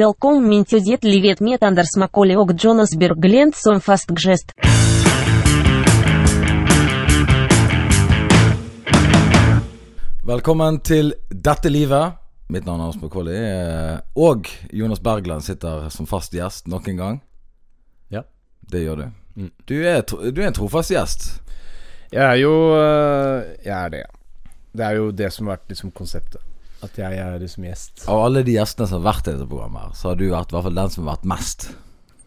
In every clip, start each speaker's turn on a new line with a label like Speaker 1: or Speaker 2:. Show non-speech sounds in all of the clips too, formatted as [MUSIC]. Speaker 1: Velkommen min to det livet med Anders Macaulay och Jonas Berglund som fast gest.
Speaker 2: Velkommen til Dette livet. Mitt navn er Anders Macauley. eh, Og Jonas Bergland sitter som fast gjest nok en gang.
Speaker 3: Ja.
Speaker 2: Det gjør du. Du, er, tro- du er en trofast gjest.
Speaker 3: Jeg er jo øh, Jeg er det, ja. Det er jo det som har vært liksom konseptet. At jeg er liksom gjest.
Speaker 2: Av alle de gjestene som har vært i dette programmet, her, så har du vært i hvert fall den som har vært mest.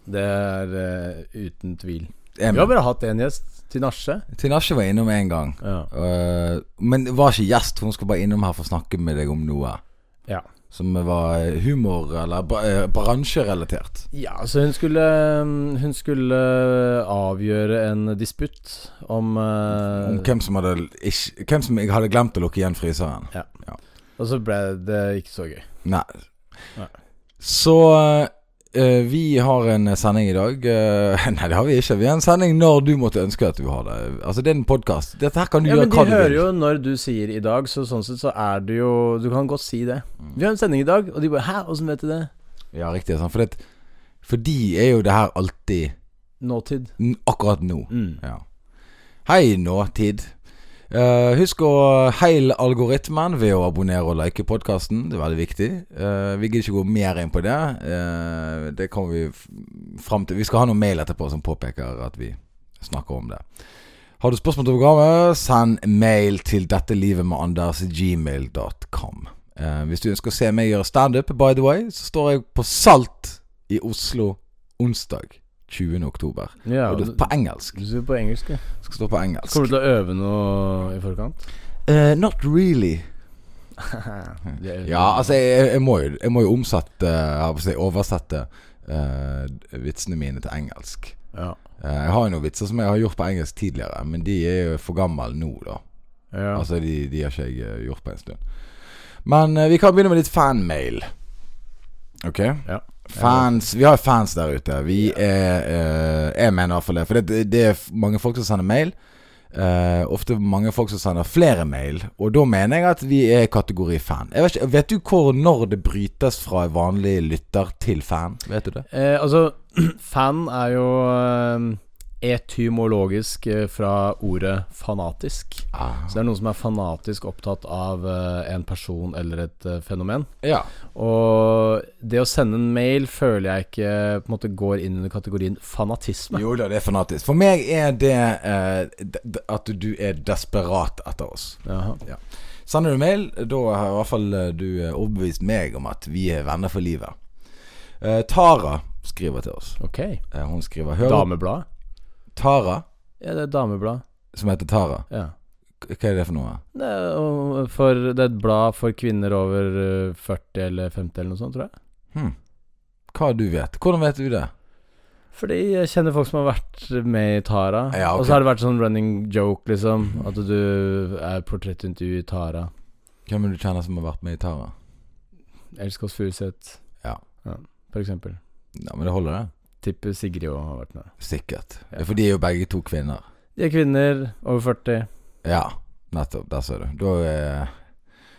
Speaker 3: Det er øh, uten tvil. Vi har
Speaker 2: Emil.
Speaker 3: bare hatt én gjest, Tinashe.
Speaker 2: Tinashe var innom en gang.
Speaker 3: Ja.
Speaker 2: eh, men var ikke gjest. Hun skulle bare innom her for å snakke med deg om noe
Speaker 3: ja.
Speaker 2: som var eh, humor- eller bra- eh, bransjerelatert.
Speaker 3: så hun skulle mm, Hun skulle eh, avgjøre en disputt om, øh,
Speaker 2: Om hvem som, hadde, ikke, hvem som hadde glemt å lukke igjen fryseren.
Speaker 3: Ja.
Speaker 2: Ja.
Speaker 3: Og så ble det ikke så gøy.
Speaker 2: Nei.
Speaker 3: Nei.
Speaker 2: Så eh, vi har en sending i dag. eh, [LAUGHS] nei, det har vi ikke. Vi har en sending når du måtte ønske at du har det. Altså, det er en podkast. Dette her kan du
Speaker 3: Ja,
Speaker 2: gjøre
Speaker 3: men de
Speaker 2: hva du
Speaker 3: hører
Speaker 2: vil.
Speaker 3: jo når du sier 'i dag', så sånn sett så er det jo Du kan godt si det. Vi har en sending i dag, og de bare 'hæ, åssen vet du det?'
Speaker 2: Ja, riktig. Sånn. For, det, for de er jo det her alltid
Speaker 3: Nåtid.
Speaker 2: n- akkurat nå.
Speaker 3: Mm.
Speaker 2: Ja. Hei nåtid. Eh, husk å heile algoritmen ved å abonnere og like podkasten. Det er veldig viktig. Eh, vi gidder ikke gå mer inn på det. Eh, det kommer vi f- fram til. Vi skal ha noen mail etterpå som påpeker at vi snakker om det. Har du spørsmål til programmet, send mail til dette livet med Anders gmail.com. Eh, hvis du ønsker å se meg gjøre standup, by the way, så står jeg på Salt i Oslo onsdag 20. oktober.
Speaker 3: Ja,
Speaker 2: Og
Speaker 3: og
Speaker 2: det er på engelsk.
Speaker 3: Du sier på engelsk, ja.
Speaker 2: Skal stå på engelsk.
Speaker 3: Kommer du til å øve noe i forkant?
Speaker 2: Eh, not really.
Speaker 3: Det er-
Speaker 2: Ja, altså, jeg, jeg, må, jo, jeg må jo omsette jeg har på å si, Oversette eh, vitsene mine til engelsk.
Speaker 3: ja.
Speaker 2: Eh, jeg har jo noen vitser som jeg har gjort på engelsk tidligere, men de er jo for gamle nå, da.
Speaker 3: Ja.
Speaker 2: Altså, de, de har ikke jeg eh, gjort på en stund. Men eh, vi kan begynne med litt fanmail. Ok?
Speaker 3: ja.
Speaker 2: Fans Vi har fans der ute. Vi er eh, Jeg mener i hvert fall det. For det, det er mange folk som sender mail. Eh, ofte mange folk som sender flere mail. Og da mener jeg at vi er kategori fan. Jeg vet, ikke, vet du hvor når det brytes fra vanlig lytter til fan? Vet du det?
Speaker 3: Eh, altså, [CLEARS THROAT] fan er jo eh, etymologisk eh, fra ordet fanatisk.
Speaker 2: Ah.
Speaker 3: Så det er noen som er fanatisk opptatt av eh, en person eller et eh, fenomen.
Speaker 2: Ja.
Speaker 3: Og det å sende en mail føler jeg ikke på en måte går inn under kategorien fanatisme.
Speaker 2: Jo da, det er fanatisk. For meg er det eh, d- d- at du er desperat etter oss.
Speaker 3: Jaha.
Speaker 2: Sender du mail, da har i hvert fall eh, du eh, overbevist meg om at vi er venner for livet. Eh, Tara skriver til oss.
Speaker 3: Ok.
Speaker 2: Eh, hun skriver Hører
Speaker 3: Damebladet?
Speaker 2: Tara,
Speaker 3: Ja, det er Dameblad.
Speaker 2: som heter Tara.
Speaker 3: Ja.
Speaker 2: K- Hva er det for noe?
Speaker 3: Det er, jo for, det er et blad for kvinner over eh, 40 eller 50 eller noe sånt, tror jeg.
Speaker 2: Hm. Hva du vet? Hvordan vet du det?
Speaker 3: Fordi jeg kjenner folk som har vært med i Tara.
Speaker 2: Ja, ok.
Speaker 3: Og så har det vært sånn running joke, liksom. At du er portrettintervju i Tara.
Speaker 2: Hvem er det du kjenner som har vært med i Tara?
Speaker 3: Elsk oss Furuseth.
Speaker 2: Ja.
Speaker 3: For eksempel.
Speaker 2: Ja, men det holder, det.
Speaker 3: Tipper Sigrid òg har vært med.
Speaker 2: Sikkert.
Speaker 3: Ja.
Speaker 2: For de er jo begge to kvinner.
Speaker 3: De er kvinner over
Speaker 2: [LAUGHS]
Speaker 3: 40.
Speaker 2: Ja, nettopp. Der ser du. Da er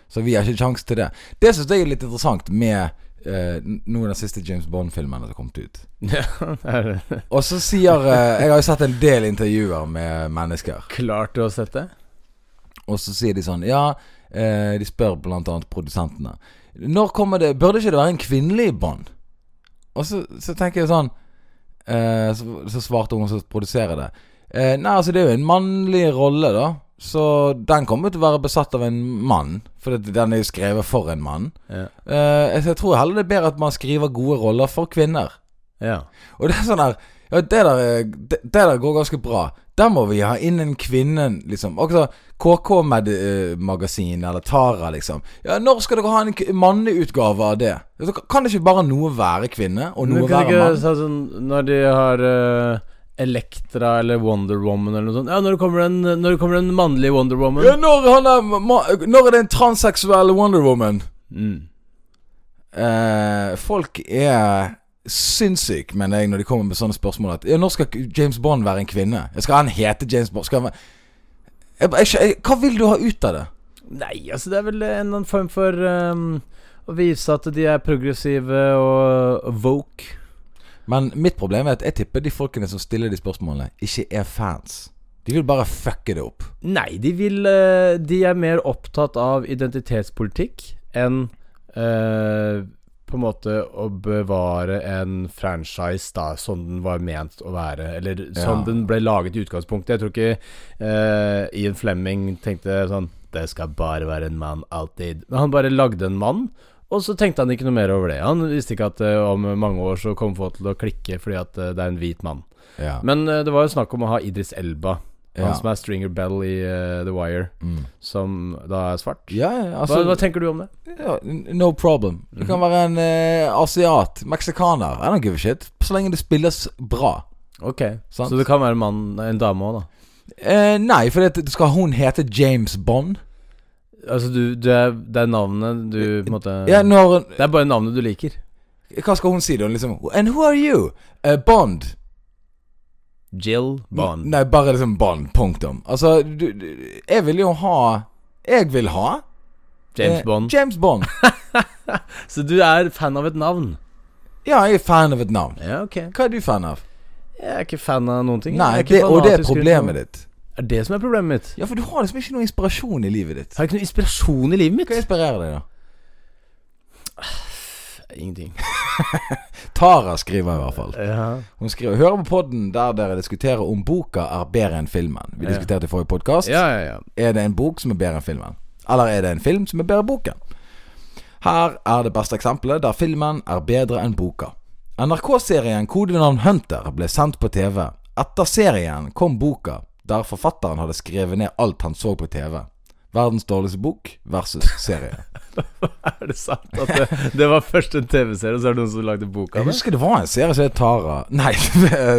Speaker 2: Så vi har ikke kjangs til det. Det syns jeg er litt interessant med eh, n- noen av de siste James Bond-filmene som har kommet ut.
Speaker 3: Ja, [LAUGHS] er det
Speaker 2: Og så sier eh, Jeg har jo sett en del intervjuer med mennesker.
Speaker 3: klart du har sett det?
Speaker 2: Og så sier de sånn Ja, eh, de spør blant annet produsentene Når kommer det Burde ikke det være en kvinnelig Bond? Og så, så tenker jeg sånn eh, så, så svarte hun som produserer det eh, Nei, altså det er jo en mannlig rolle da Så den kommer jo til å være besatt av en mann For det, den er jo skrevet for en mann
Speaker 3: Ja.
Speaker 2: eh, Så jeg tror heller det er bedre at man skriver gode roller for kvinner
Speaker 3: ja.
Speaker 2: og det er sånn her ja, det, der, er- det, det der går ganske bra. Der må vi ha inn en kvinne, liksom. Også KK-magasin eh, eller Tara, liksom. Ja, når skal dere ha en k- manneutgave av det? Så Kan det ikke bare noe være kvinne, og
Speaker 3: Men
Speaker 2: noe
Speaker 3: kan
Speaker 2: være
Speaker 3: ikke
Speaker 2: mann?
Speaker 3: si sånn Når de har eh, Elektra eller Wonder Woman eller noe sånt Ja, når det kommer en, når det kommer en mannlig Wonder Woman
Speaker 2: Ja, når, han er, ma- når er det en transseksuell Wonder Woman?
Speaker 3: mm.
Speaker 2: Eh, folk er sinnssyke, mener jeg, når de kommer med sånne spørsmål. At, ja, når skal James Bond være en kvinne? Skal han hete James Bond? Skal han være jeg, bare- jeg, skjø- jeg, hva vil du ha ut av det?
Speaker 3: Nei, altså det er vel en eller annen form for eh, Og vise at de er progressive og woke.
Speaker 2: Men mitt problem er at jeg tipper de folkene som stiller de spørsmålene, ikke er fans. De vil bare fucke det opp.
Speaker 3: Nei, de vil eh, De er mer opptatt av identitetspolitikk enn eh, på en måte å bevare en franchise da, som den var ment å være, eller som
Speaker 2: Ja.
Speaker 3: den ble laget i utgangspunktet. Jeg tror ikke eh, Ian Flemming tenkte sånn Det skal bare være en mann, alltid. Men han bare lagde en mann, og så tenkte han ikke noe mer over det. Han visste ikke at eh, om mange år så kom folk til å klikke fordi at eh, det er en hvit mann.
Speaker 2: Ja.
Speaker 3: Men eh, det var jo snakk om å ha Idris Elba, han
Speaker 2: Ja.
Speaker 3: som er Stringer Bell i eh, The Wire,
Speaker 2: Mm.
Speaker 3: som da er svart.
Speaker 2: ja, ja,
Speaker 3: Hva,
Speaker 2: altså
Speaker 3: hva Mhm. tenker du om det?
Speaker 2: ja, n- No problem. Du kan være en eh, asiat, meksikaner. I don't give a shit. Så lenge det spilles bra.
Speaker 3: Ok,
Speaker 2: Sant.
Speaker 3: Så det kan være en mann, en dame òg, da.
Speaker 2: Eh, nei, for det, skal hun hete James Bond?
Speaker 3: Altså du, du er, det er navnet du på en måte
Speaker 2: Ja, når
Speaker 3: Det er bare navnet du liker.
Speaker 2: Hva skal hun si da? Liksom And who are you? Eh, Bond.
Speaker 3: Jill Bond.
Speaker 2: Nei, bare liksom Bond. Punktum. Altså, du, du, jeg vil jo ha Jeg vil ha
Speaker 3: James
Speaker 2: eh,
Speaker 3: Bond.
Speaker 2: James Bond.
Speaker 3: Så du er fan av et navn?
Speaker 2: Ja, jeg er fan av et navn.
Speaker 3: Ja, ok.
Speaker 2: Hva er du fan av?
Speaker 3: Jeg er ikke fan av noen ting.
Speaker 2: Nei,
Speaker 3: Jeg
Speaker 2: det, og det er
Speaker 3: Er ikke fanatisk rundt
Speaker 2: problemet ditt.
Speaker 3: noe. Er det som er problemet mitt?
Speaker 2: Ja, for du har liksom ikke noe inspirasjon i livet ditt.
Speaker 3: Har jeg ikke noe inspirasjon i livet mitt?
Speaker 2: Hva inspirerer deg, da?
Speaker 3: Ingenting.
Speaker 2: Tara skriver i hvert fall.
Speaker 3: Ja.
Speaker 2: Hun skriver Hører på podden der dere diskuterer om boka er bedre enn filmen. Vi
Speaker 3: Ja.
Speaker 2: diskuterte i forrige podkast.
Speaker 3: ja, ja, ja.
Speaker 2: Er det en bok som er bedre enn filmen? Eller er det en film som er bedre enn boken? Her er det beste eksempelet der filmen er bedre enn boka. NRK-serien Kodenavn Hunter ble sendt på TV. Etter serien kom boka, der forfatteren hadde skrevet ned alt han så på TV. Verdens dårligste bok versus serie.
Speaker 3: [LAUGHS] Er det sant at det, det var først en TV-serie, og så er det noen som lagde
Speaker 2: [LAUGHS]
Speaker 3: bok
Speaker 2: Jeg
Speaker 3: av det?
Speaker 2: husker det var en serie som het Tara Nei, [LAUGHS]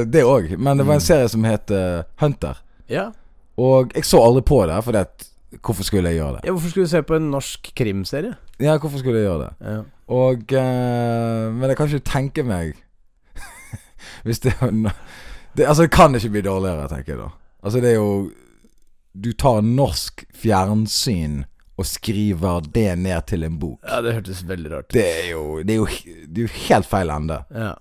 Speaker 2: det òg, men det var en serie som het eh, Hunter.
Speaker 3: Ja.
Speaker 2: Og jeg så aldri på det, for hvorfor skulle jeg gjøre det?
Speaker 3: ja. Hvorfor skulle du se på en norsk krimserie?
Speaker 2: Ja, hvorfor skulle jeg gjøre det?
Speaker 3: Ja.
Speaker 2: Og eh, Men jeg kan ikke tenke meg [LAUGHS] Hvis det er no- det, Altså, det kan ikke bli dårligere, tenker jeg da. Altså, det er jo Du tar norsk fjernsyn og skriver det ned til en bok.
Speaker 3: det hørtes veldig rart ut.
Speaker 2: Det er jo Det er jo, he- det er jo helt feil ende.
Speaker 3: Ja.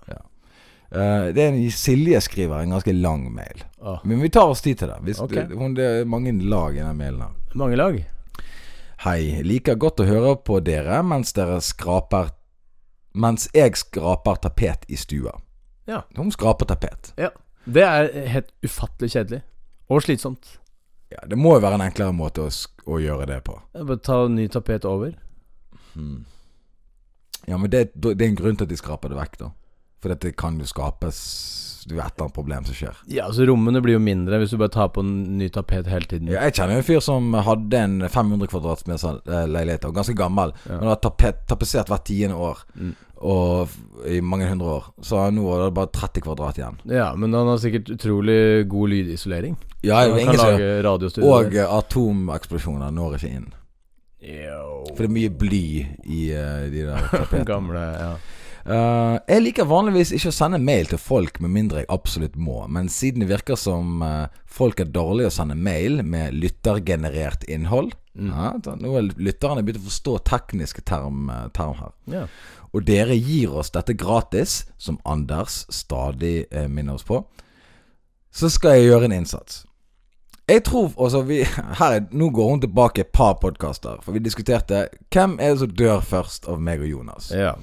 Speaker 2: Eh, det er en Silje skriver en ganske lang mail.
Speaker 3: Åh.
Speaker 2: Men vi tar oss tid til det. Hvis
Speaker 3: Ok.
Speaker 2: det, hun, det er mange lag i den mailen her.
Speaker 3: Mange lag.
Speaker 2: Hei, liker godt å høre på dere mens dere skraper Mens jeg skraper tapet i stua.
Speaker 3: Ja.
Speaker 2: Hun skraper tapet.
Speaker 3: Ja. Det er helt ufattelig kjedelig. Og slitsomt.
Speaker 2: Ja, det må jo være en enklere måte å, sk- å gjøre det på.
Speaker 3: Jeg Bare ta en ny tapet over.
Speaker 2: Ja, men det, det er en grunn til at de skraper det vekk, da. For dette kan jo skapes Det er jo et eller annet problem som skjer.
Speaker 3: Ja, altså Rommene blir jo mindre hvis du bare tar på en ny tapet hele tiden.
Speaker 2: Ja, jeg kjenner jo en fyr som hadde en 500 kvadratmeter eh, leilighet, og ganske gammel.
Speaker 3: Ja.
Speaker 2: Han hadde tapet, tapetsert hvert tiende år
Speaker 3: Mm.
Speaker 2: og, f- i mange hundre år. Så nå er det bare 30 kvadrat igjen.
Speaker 3: Ja, Men han har sikkert utrolig god lydisolering.
Speaker 2: Ja, det
Speaker 3: han
Speaker 2: er
Speaker 3: kan
Speaker 2: ingen som
Speaker 3: lage radiostudio.
Speaker 2: Og eh, atomeksplosjoner når ikke inn. For det er mye bly i eh, de der tapetene.
Speaker 3: Gamle ja.
Speaker 2: Eh, jeg liker vanligvis ikke å sende mail til folk med mindre jeg absolutt må, men siden det virker som eh, folk er dårlige å sende mail med lyttergenerert innhold ja, da, Nå er lytterne begynt å forstå tekniske term, eh, term her.
Speaker 3: ja.
Speaker 2: Og dere gir oss dette gratis, som Anders stadig eh, minner oss på. Så skal jeg gjøre en innsats. Jeg tror altså vi, [LAUGHS] her, er- Nå går hun tilbake et par podkaster, for vi diskuterte hvem er det som dør først av meg og Jonas.
Speaker 3: ja.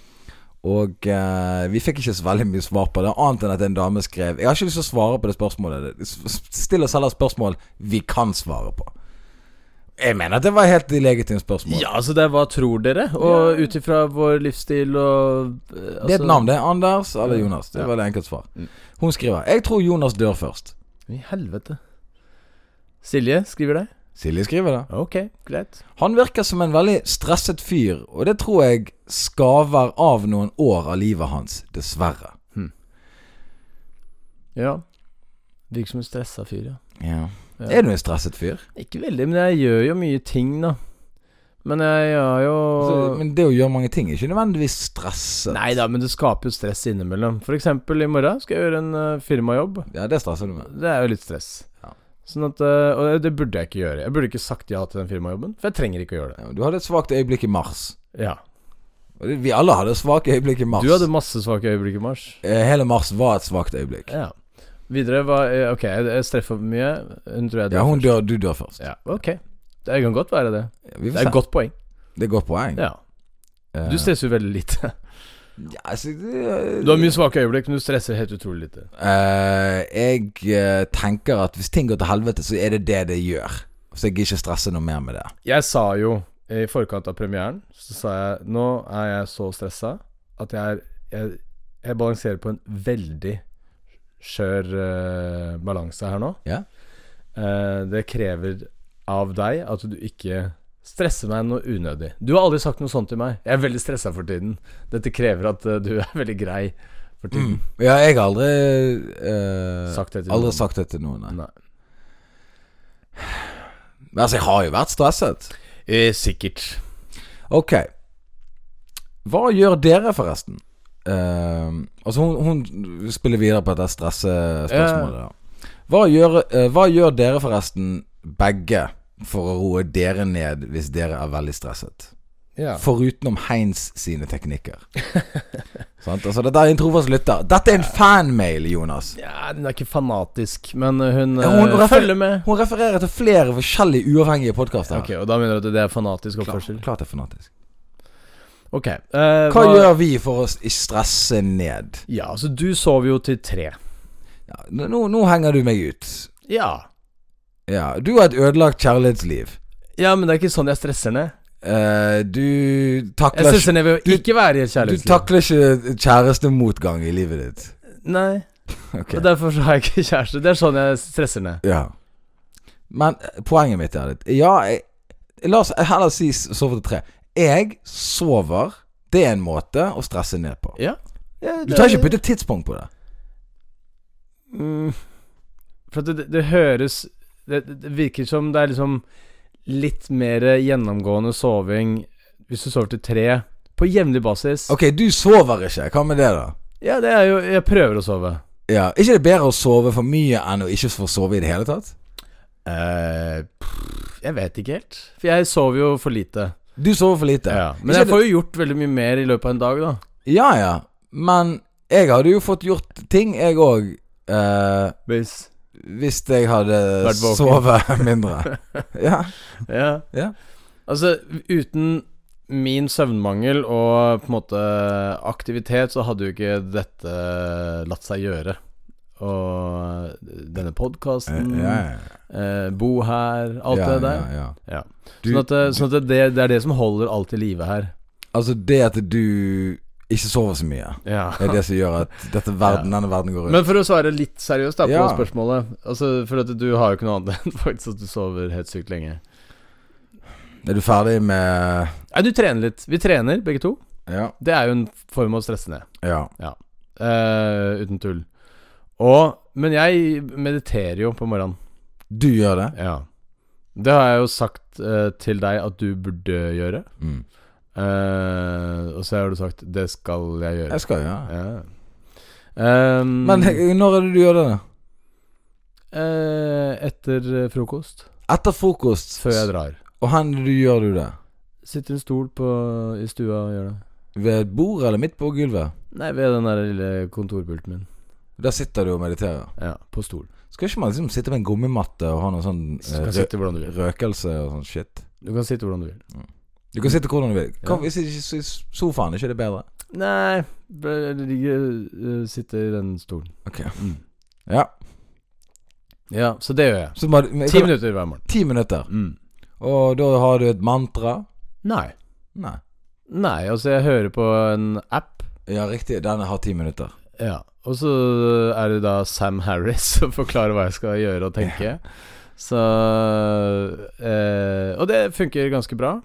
Speaker 2: Og eh, vi fikk ikke så veldig mye svar på det, annet enn at en dame skrev Jeg har ikke lyst til å svare på det spørsmålet. S- s- Still oss heller spørsmål vi kan svare på. Jeg mener at det var et helt legitimt spørsmål.
Speaker 3: Ja, altså det er hva tror dere? Og ut ifra vår livsstil og eh, altså,
Speaker 2: Det er et navn, det. er Anders eller Jonas. Det
Speaker 3: Ja.
Speaker 2: var det enkelt svar.
Speaker 3: Mm.
Speaker 2: Hun skriver 'Jeg tror Jonas dør først'.
Speaker 3: I helvete. Silje skriver det.
Speaker 2: Silje skriver det.
Speaker 3: Ok, greit.
Speaker 2: Han virker som en veldig stresset fyr, og det tror jeg skaver av noen år av livet hans, dessverre.
Speaker 3: Ja. Virker som en stressa fyr, ja.
Speaker 2: Ja.
Speaker 3: Ja.
Speaker 2: Er du en stresset fyr?
Speaker 3: Ikke veldig, men jeg gjør jo mye ting, da. Men jeg har jo
Speaker 2: Altså, men det å gjøre mange ting er ikke nødvendigvis stresset.
Speaker 3: Nei da, men det skaper jo stress innimellom. For eksempel i morgen skal jeg gjøre en eh, firmajobb.
Speaker 2: Ja, det stresser du med.
Speaker 3: Det er jo litt stress.
Speaker 2: Ja.
Speaker 3: Sånn at eh, Og det burde jeg ikke gjøre. Jeg burde ikke sagt ja til den firmajobben, for jeg trenger ikke å gjøre det.
Speaker 2: Ja, Du hadde et svakt øyeblikk i mars.
Speaker 3: Ja.
Speaker 2: Og det- Vi alle hadde svake øyeblikk i mars.
Speaker 3: Du hadde masse svake øyeblikk i mars.
Speaker 2: Eh, Hele mars var et svakt øyeblikk.
Speaker 3: Ja. Videre var eh, Ok, jeg jeg streffer mye. Hun tror jeg dør
Speaker 2: Ja, hun
Speaker 3: først.
Speaker 2: dør, du dør først.
Speaker 3: Ja, ok. Det kan godt være det.
Speaker 2: Vi
Speaker 3: Det
Speaker 2: får
Speaker 3: er
Speaker 2: se.
Speaker 3: et godt poeng.
Speaker 2: Det er godt poeng.
Speaker 3: Ja.
Speaker 2: Eh,
Speaker 3: Du stresser jo veldig lite. [LAUGHS]
Speaker 2: ja, altså, det-
Speaker 3: Du har mye svake øyeblikk, men du stresser helt utrolig lite.
Speaker 2: Eh, jeg eh, tenker at hvis ting går til helvete, så er det det det gjør. Så jeg gidder ikke stresse noe mer med det.
Speaker 3: Jeg sa jo eh, i forkant av premieren Så sa jeg Nå er jeg så stressa At jeg, er, jeg, jeg balanserer på en veldig skjør eh, balanse her nå
Speaker 2: Ja.
Speaker 3: Eh, Det krever av deg At du ikke stresser meg noe unødig Du har aldri sagt noe sånt til meg Jeg er veldig stressa for tiden Dette krever at eh, du er [LAUGHS] veldig grei for tiden
Speaker 2: Ja, jeg har aldri eh,
Speaker 3: Sagt det til
Speaker 2: Aldri
Speaker 3: noen.
Speaker 2: sagt det til noen. Nei.
Speaker 3: Nei.
Speaker 2: Men altså, jeg har jo vært stresset.
Speaker 3: Eh, Sikkert
Speaker 2: Ok. Hva gjør dere, forresten? Eh, altså, hun, hun spiller videre på dette stressespørsmålet. da. Hva, gjør, eh, hva gjør dere, forresten, begge, for å roe dere ned hvis dere er veldig stresset?
Speaker 3: ja.
Speaker 2: Forutenom Heinz sine teknikker. [LAUGHS] Sant? Altså, dette er en trofast lytter. Dette er en fanmail, Jonas.
Speaker 3: ja, hun er ikke fanatisk Men eh, hun,
Speaker 2: Ja, hun
Speaker 3: eh,
Speaker 2: refer-
Speaker 3: følger med
Speaker 2: Hun refererer til flere forskjellige uavhengige podkaster.
Speaker 3: Ok, og da mener du at det er fanatisk
Speaker 2: klart,
Speaker 3: oppførsel?
Speaker 2: klart det er fanatisk.
Speaker 3: Ok. eh,
Speaker 2: Hva gjør vi for å s- ikke stresse ned?
Speaker 3: Ja, altså, du sov jo til tre.
Speaker 2: Ja, nå- nå, nå henger du meg ut.
Speaker 3: Ja.
Speaker 2: Ja, du har et ødelagt kjærlighetsliv.
Speaker 3: Ja, men det er ikke sånn jeg stresser ned.
Speaker 2: Eh, du
Speaker 3: Jeg
Speaker 2: takler
Speaker 3: stresser ned ved å
Speaker 2: Du-
Speaker 3: ikke være i
Speaker 2: ikke
Speaker 3: et
Speaker 2: Du
Speaker 3: kjærlighetsliv.
Speaker 2: takler ikke kjærestemotgang i livet ditt.
Speaker 3: Nei,
Speaker 2: Ok.
Speaker 3: og derfor så har jeg ikke kjæreste. Det er sånn jeg stresser ned.
Speaker 2: Ja. Men eh, poenget mitt er litt Ja, jeg, la oss heller si s- sove til tre. Jeg sover. Det er en måte å stresse ned på.
Speaker 3: Ja.
Speaker 2: Du tar ikke putte tidspunkt på det.
Speaker 3: mm, For at det, det høres det, det virker som det er liksom litt mer gjennomgående soving hvis du sover til tre på jevnlig basis.
Speaker 2: Ok, du sover ikke. Hva med det, da?
Speaker 3: Ja, det er jo Jeg prøver å sove.
Speaker 2: Ja, Ikke det er bedre å sove for mye enn å ikke få sove i det hele tatt?
Speaker 3: eh pff, jeg vet ikke helt. For jeg sover jo for lite.
Speaker 2: Du sover for lite.
Speaker 3: Ja, men
Speaker 2: Ikke
Speaker 3: jeg
Speaker 2: det-
Speaker 3: får jo gjort veldig mye mer i løpet av en dag, da.
Speaker 2: ja, ja. Men jeg hadde jo fått gjort ting, jeg òg. eh,
Speaker 3: Hvis
Speaker 2: hvis jeg hadde
Speaker 3: Vært våken.
Speaker 2: sovet
Speaker 3: [LAUGHS]
Speaker 2: mindre. Ja.
Speaker 3: Ja.
Speaker 2: Ja.
Speaker 3: Altså, uten min søvnmangel og på en måte aktivitet, så hadde jo ikke dette latt seg gjøre. Og denne podkasten, eh, bo her, alt
Speaker 2: ja,
Speaker 3: det der.
Speaker 2: Ja, ja.
Speaker 3: Ja.
Speaker 2: Du,
Speaker 3: sånn at, det- sånn at det, det er det som holder alt i live her.
Speaker 2: Altså det at du ikke sover så mye,
Speaker 3: Ja.
Speaker 2: er det som gjør at dette
Speaker 3: [LAUGHS]
Speaker 2: verden, denne verden går rundt.
Speaker 3: Men for å svare litt seriøst da på
Speaker 2: Ja.
Speaker 3: spørsmålet Altså, For at du har jo ikke noe annet enn [LAUGHS] faktisk at du sover helt sykt lenge.
Speaker 2: er du ferdig med
Speaker 3: Nei, du trener litt. Vi trener, begge to.
Speaker 2: Ja.
Speaker 3: Det er jo en form av å stresse ned.
Speaker 2: ja.
Speaker 3: Eh, uten tull. Og, men jeg mediterer jo på morgenen.
Speaker 2: Du gjør det?
Speaker 3: Ja. Det har jeg jo sagt eh, til deg at du burde gjøre.
Speaker 2: Mm.
Speaker 3: Eh, og så har du sagt 'det skal jeg gjøre'.
Speaker 2: Jeg skal gjøre det.
Speaker 3: Ja. Ehm,
Speaker 2: Men eh, når er det du gjør det? da?
Speaker 3: eh, etter eh, frokost,
Speaker 2: Etter frokost.
Speaker 3: før jeg drar,
Speaker 2: Og hvor du gjør du det?
Speaker 3: sitter en stol på, i stua og gjør det.
Speaker 2: Ved et bord eller midt på gulvet?
Speaker 3: Nei, ved den der lille kontorpulten min.
Speaker 2: Der sitter du og mediterer.
Speaker 3: Ja, på stol.
Speaker 2: Skal ikke man liksom sitte med en gummimatte og ha noe sånn
Speaker 3: Så
Speaker 2: eh,
Speaker 3: du kan
Speaker 2: rø
Speaker 3: sitte hvordan du vil.
Speaker 2: røkelse og sånn shit?
Speaker 3: Du kan sitte hvordan du vil.
Speaker 2: Du kan sitte hvordan du vil. Kan,
Speaker 3: Mm. Ja.
Speaker 2: Hvis ikke så- sofaen, er ikke det bedre?
Speaker 3: Nei, bare ligge, eh, sitte i den stolen.
Speaker 2: Ok.
Speaker 3: Mm.
Speaker 2: Ja.
Speaker 3: Ja, så det gjør jeg.
Speaker 2: Så bare, men,
Speaker 3: Ti
Speaker 2: kan-
Speaker 3: minutter hver morgen. Mm.
Speaker 2: Ti minutter. Og da har du et mantra.
Speaker 3: Nei.
Speaker 2: Nei.
Speaker 3: Nei, altså jeg hører på en app,
Speaker 2: Ja, riktig. Den har ti minutter.
Speaker 3: ja. og så er det da Sam Harris som forklarer hva jeg skal gjøre og tenke. Så eh, Og det funker ganske bra.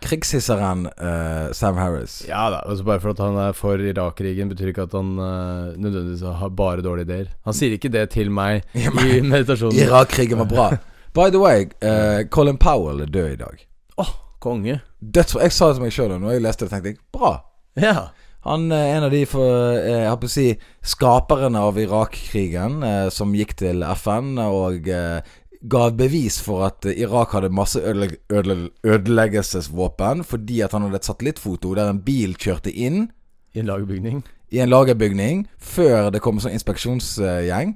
Speaker 2: Krigshisseren eh, Sam Harris.
Speaker 3: Ja da, altså Bare for at han er for Irak-krigen, betyr ikke at han eh, nødvendigvis har bare dårlige ideer. Han sier ikke det til meg
Speaker 2: Ja,
Speaker 3: i
Speaker 2: men-
Speaker 3: meditasjonen.
Speaker 2: Irak-krigen var bra. By the way, eh, Colin Powell er død i dag.
Speaker 3: Konge.
Speaker 2: Døds, jeg sa det til meg sjøl når jeg leste det, tenkte jeg bra.
Speaker 3: Ja.
Speaker 2: Han er en av de for, eh, jeg holdt på å si, skaperne av Irak-krigen, eh, som gikk til FN og eh, ga bevis for at eh, Irak hadde masse ødele ødele ødeleggelsesvåpen fordi at han hadde et satellittfoto der en bil kjørte inn
Speaker 3: I en lagerbygning.
Speaker 2: i en lagerbygning før det kom en sånn inspeksjonsgjeng.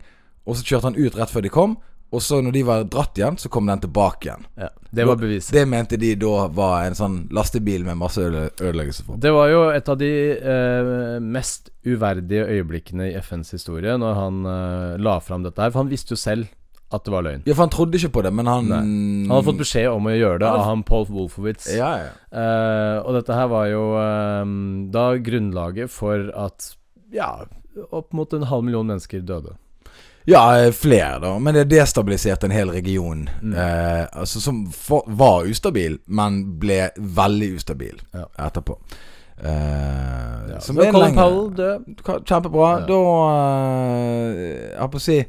Speaker 2: Og så kjørte han ut rett før de kom, og så når de var dratt igjen, så kom den tilbake igjen.
Speaker 3: Ja, det var beviset.
Speaker 2: Det mente de da var en sånn lastebil med masse ødele ødeleggelsesvåpen.
Speaker 3: Det var jo et av de eh, mest uverdige øyeblikkene i FNs historie når han eh, la fram dette her, for han visste jo selv at det var løgn.
Speaker 2: Ja, for han trodde ikke på det, men han
Speaker 3: Han hadde fått beskjed om å gjøre det av han Paul Wolfowitz.
Speaker 2: Ja, ja.
Speaker 3: Eh, og dette her var jo eh, da grunnlaget for at ja, opp mot en halv million mennesker døde.
Speaker 2: Ja, eh, flere, da. Men det destabiliserte en hel region.
Speaker 3: Mm.
Speaker 2: Eh, altså, som for, var ustabil, men ble veldig ustabil
Speaker 3: Ja.
Speaker 2: etterpå. Eh,
Speaker 3: Ja.
Speaker 2: som
Speaker 3: Så
Speaker 2: er en
Speaker 3: Colin
Speaker 2: lengre-
Speaker 3: Powell død.
Speaker 2: Ka- Kjempebra.
Speaker 3: Ja.
Speaker 2: Da eh, Jeg holdt på å si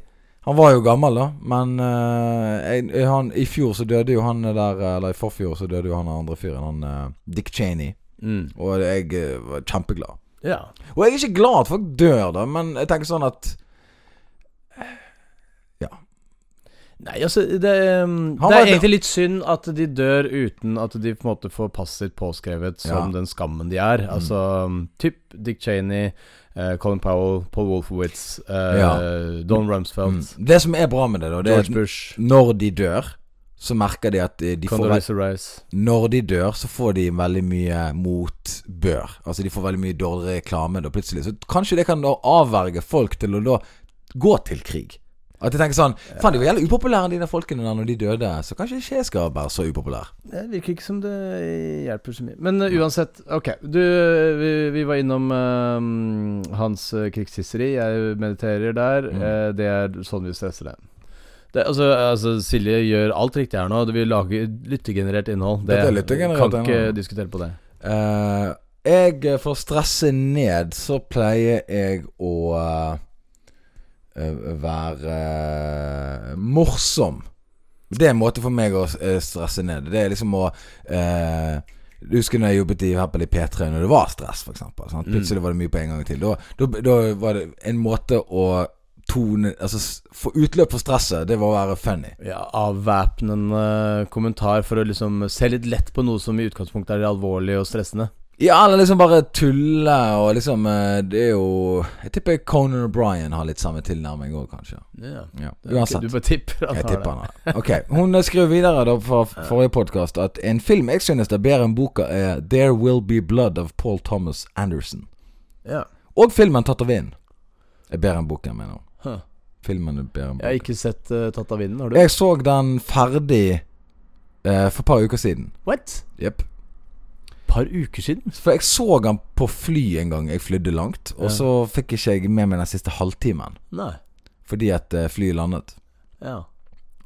Speaker 2: Han var jo gammel, da, men eh, jeg- han, i fjor så døde jo han der eh, Eller i forfjor så døde jo han andre fyren, han eh, Dick Cheney.
Speaker 3: Mm.
Speaker 2: Og jeg eh, var kjempeglad.
Speaker 3: Ja.
Speaker 2: Og jeg er ikke glad at folk dør, da, men jeg tenker sånn at
Speaker 3: Nei, altså Det, um,
Speaker 2: Han
Speaker 3: det
Speaker 2: var-
Speaker 3: er egentlig litt synd at de dør uten at de på en måte får passivt påskrevet som
Speaker 2: Ja. Mm.
Speaker 3: den skammen de er. Altså um, typ Dick Cheney, eh, Colin Powell, Paul Wolfowitz, eh,
Speaker 2: Ja.
Speaker 3: Don Rumsfeld,
Speaker 2: Mm. Det som er bra med det, da, det er
Speaker 3: George
Speaker 2: at
Speaker 3: Bush,
Speaker 2: når de dør, så merker de at eh, de får veld-
Speaker 3: Condoleezza Rice.
Speaker 2: Når de dør, så får de veldig mye motbør. Altså, de får veldig mye dårlig reklame da plutselig. Så kanskje det kan da avverge folk til å da gå til krig. At de tenker sånn Faen, de var jævlig upopulære, de der folkene der, når de døde. Så kanskje ikke jeg skal være så upopulær.
Speaker 3: Det virker ikke som det hjelper så mye. Men eh, uansett, ok. Du, vi, vi var innom eh, hans eh, krigshysteri. Jeg mediterer der. Eh, det er sånn vi stresser det. det altså, altså, Silje gjør alt riktig her nå. Vi lager lyttegenerert innhold. Det,
Speaker 2: Dette er lyttergenerert
Speaker 3: kan ikke
Speaker 2: innhold.
Speaker 3: diskutere på det.
Speaker 2: Eh, jeg For å stresse ned, så pleier jeg å eh, eh, være eh, morsom. Det er en måte for meg å eh, stresse ned. Det er liksom å eh, Du husker når jeg jobbet i, for eksempel i P3, når det var stress, f.eks. Sånn. Plutselig var det mye på en gang til. Da, da, da var det en måte å tone Altså s- få utløp for stresset, det var å være funny.
Speaker 3: Ja, Avvæpnende eh, kommentar for å liksom se litt lett på noe som i utgangspunktet er alvorlig og stressende.
Speaker 2: Ja, eller liksom bare tulle og liksom eh, Det er jo Jeg tipper Conan O'Brien har litt samme tilnærming òg, kanskje.
Speaker 3: Ja.
Speaker 2: Ja.
Speaker 3: Du
Speaker 2: Uansett.
Speaker 3: bare tipper at
Speaker 2: Jeg
Speaker 3: han har
Speaker 2: tipper han har det. Ok. Hun eh, skriver videre da fra forrige podkast at en film jeg synes er bedre enn boka, er 'There Will Be Blood' av Paul Thomas Anderson.
Speaker 3: det. Ja.
Speaker 2: Og filmen 'Tatovin' er bedre enn boken, mener hun.
Speaker 3: Huh.
Speaker 2: Filmen er bedre enn
Speaker 3: Jeg har
Speaker 2: boken.
Speaker 3: ikke sett eh, Tatt av vinden, har du?
Speaker 2: Jeg så den ferdig eh, for et par uker siden.
Speaker 3: What?
Speaker 2: Jepp.
Speaker 3: par uker siden.
Speaker 2: For jeg så han på fly en gang jeg flydde langt, og
Speaker 3: Ja.
Speaker 2: så fikk ikke jeg med meg den siste halvtimen.
Speaker 3: Nei.
Speaker 2: Fordi at eh, flyet landet.
Speaker 3: Ja.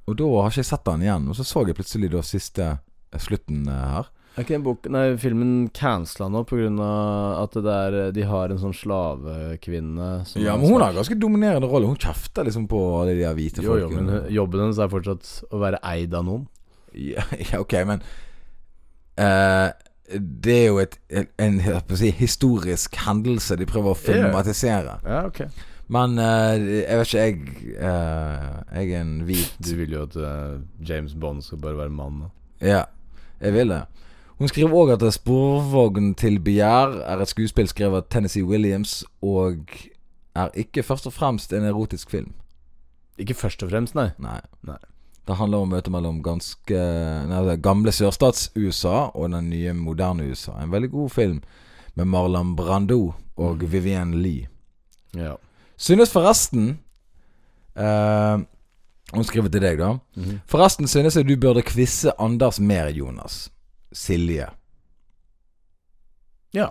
Speaker 2: Og da har ikke jeg sett den igjen. Og så så jeg plutselig da siste eh, slutten eh, her.
Speaker 3: Er ikke den bok, nei, filmen cancela nå pga. at det der, de har en sånn slavekvinne som
Speaker 2: Ja,
Speaker 3: er
Speaker 2: men hun
Speaker 3: svart.
Speaker 2: har en ganske dominerende rolle. Hun kjefter liksom på alle de der hvite
Speaker 3: jo, jo,
Speaker 2: folkene.
Speaker 3: men jobben hennes er fortsatt å være eid av noen.
Speaker 2: eh, ja, [LAUGHS] ja, ok, men eh, Det er jo et, en jeg holdt på å si, historisk hendelse de prøver å
Speaker 3: Ja.
Speaker 2: filmatisere.
Speaker 3: Ja, ok
Speaker 2: Men eh, jeg vet ikke, jeg eh, Jeg er en hvit
Speaker 3: Du vil jo at eh, James Bond skal bare være mann. da.
Speaker 2: Ja, jeg vil det. Hun skriver òg at 'Sporvogn til begjær' er et skuespill skrevet av Tennessee Williams, og er ikke først og fremst en erotisk film.
Speaker 3: Ikke først og fremst, nei.
Speaker 2: Nei.
Speaker 3: Nei.
Speaker 2: Det handler om møtet mellom ganske nei, det gamle sørstats-USA og den nye, moderne USA. En veldig god film med Marlon Brando og Vivienne Lee.
Speaker 3: Ja.
Speaker 2: Synes forresten eh, Hun skriver til deg, da.
Speaker 3: Mhm.
Speaker 2: Forresten synes jeg du burde quize Anders mer, Jonas. Silje.
Speaker 3: ja.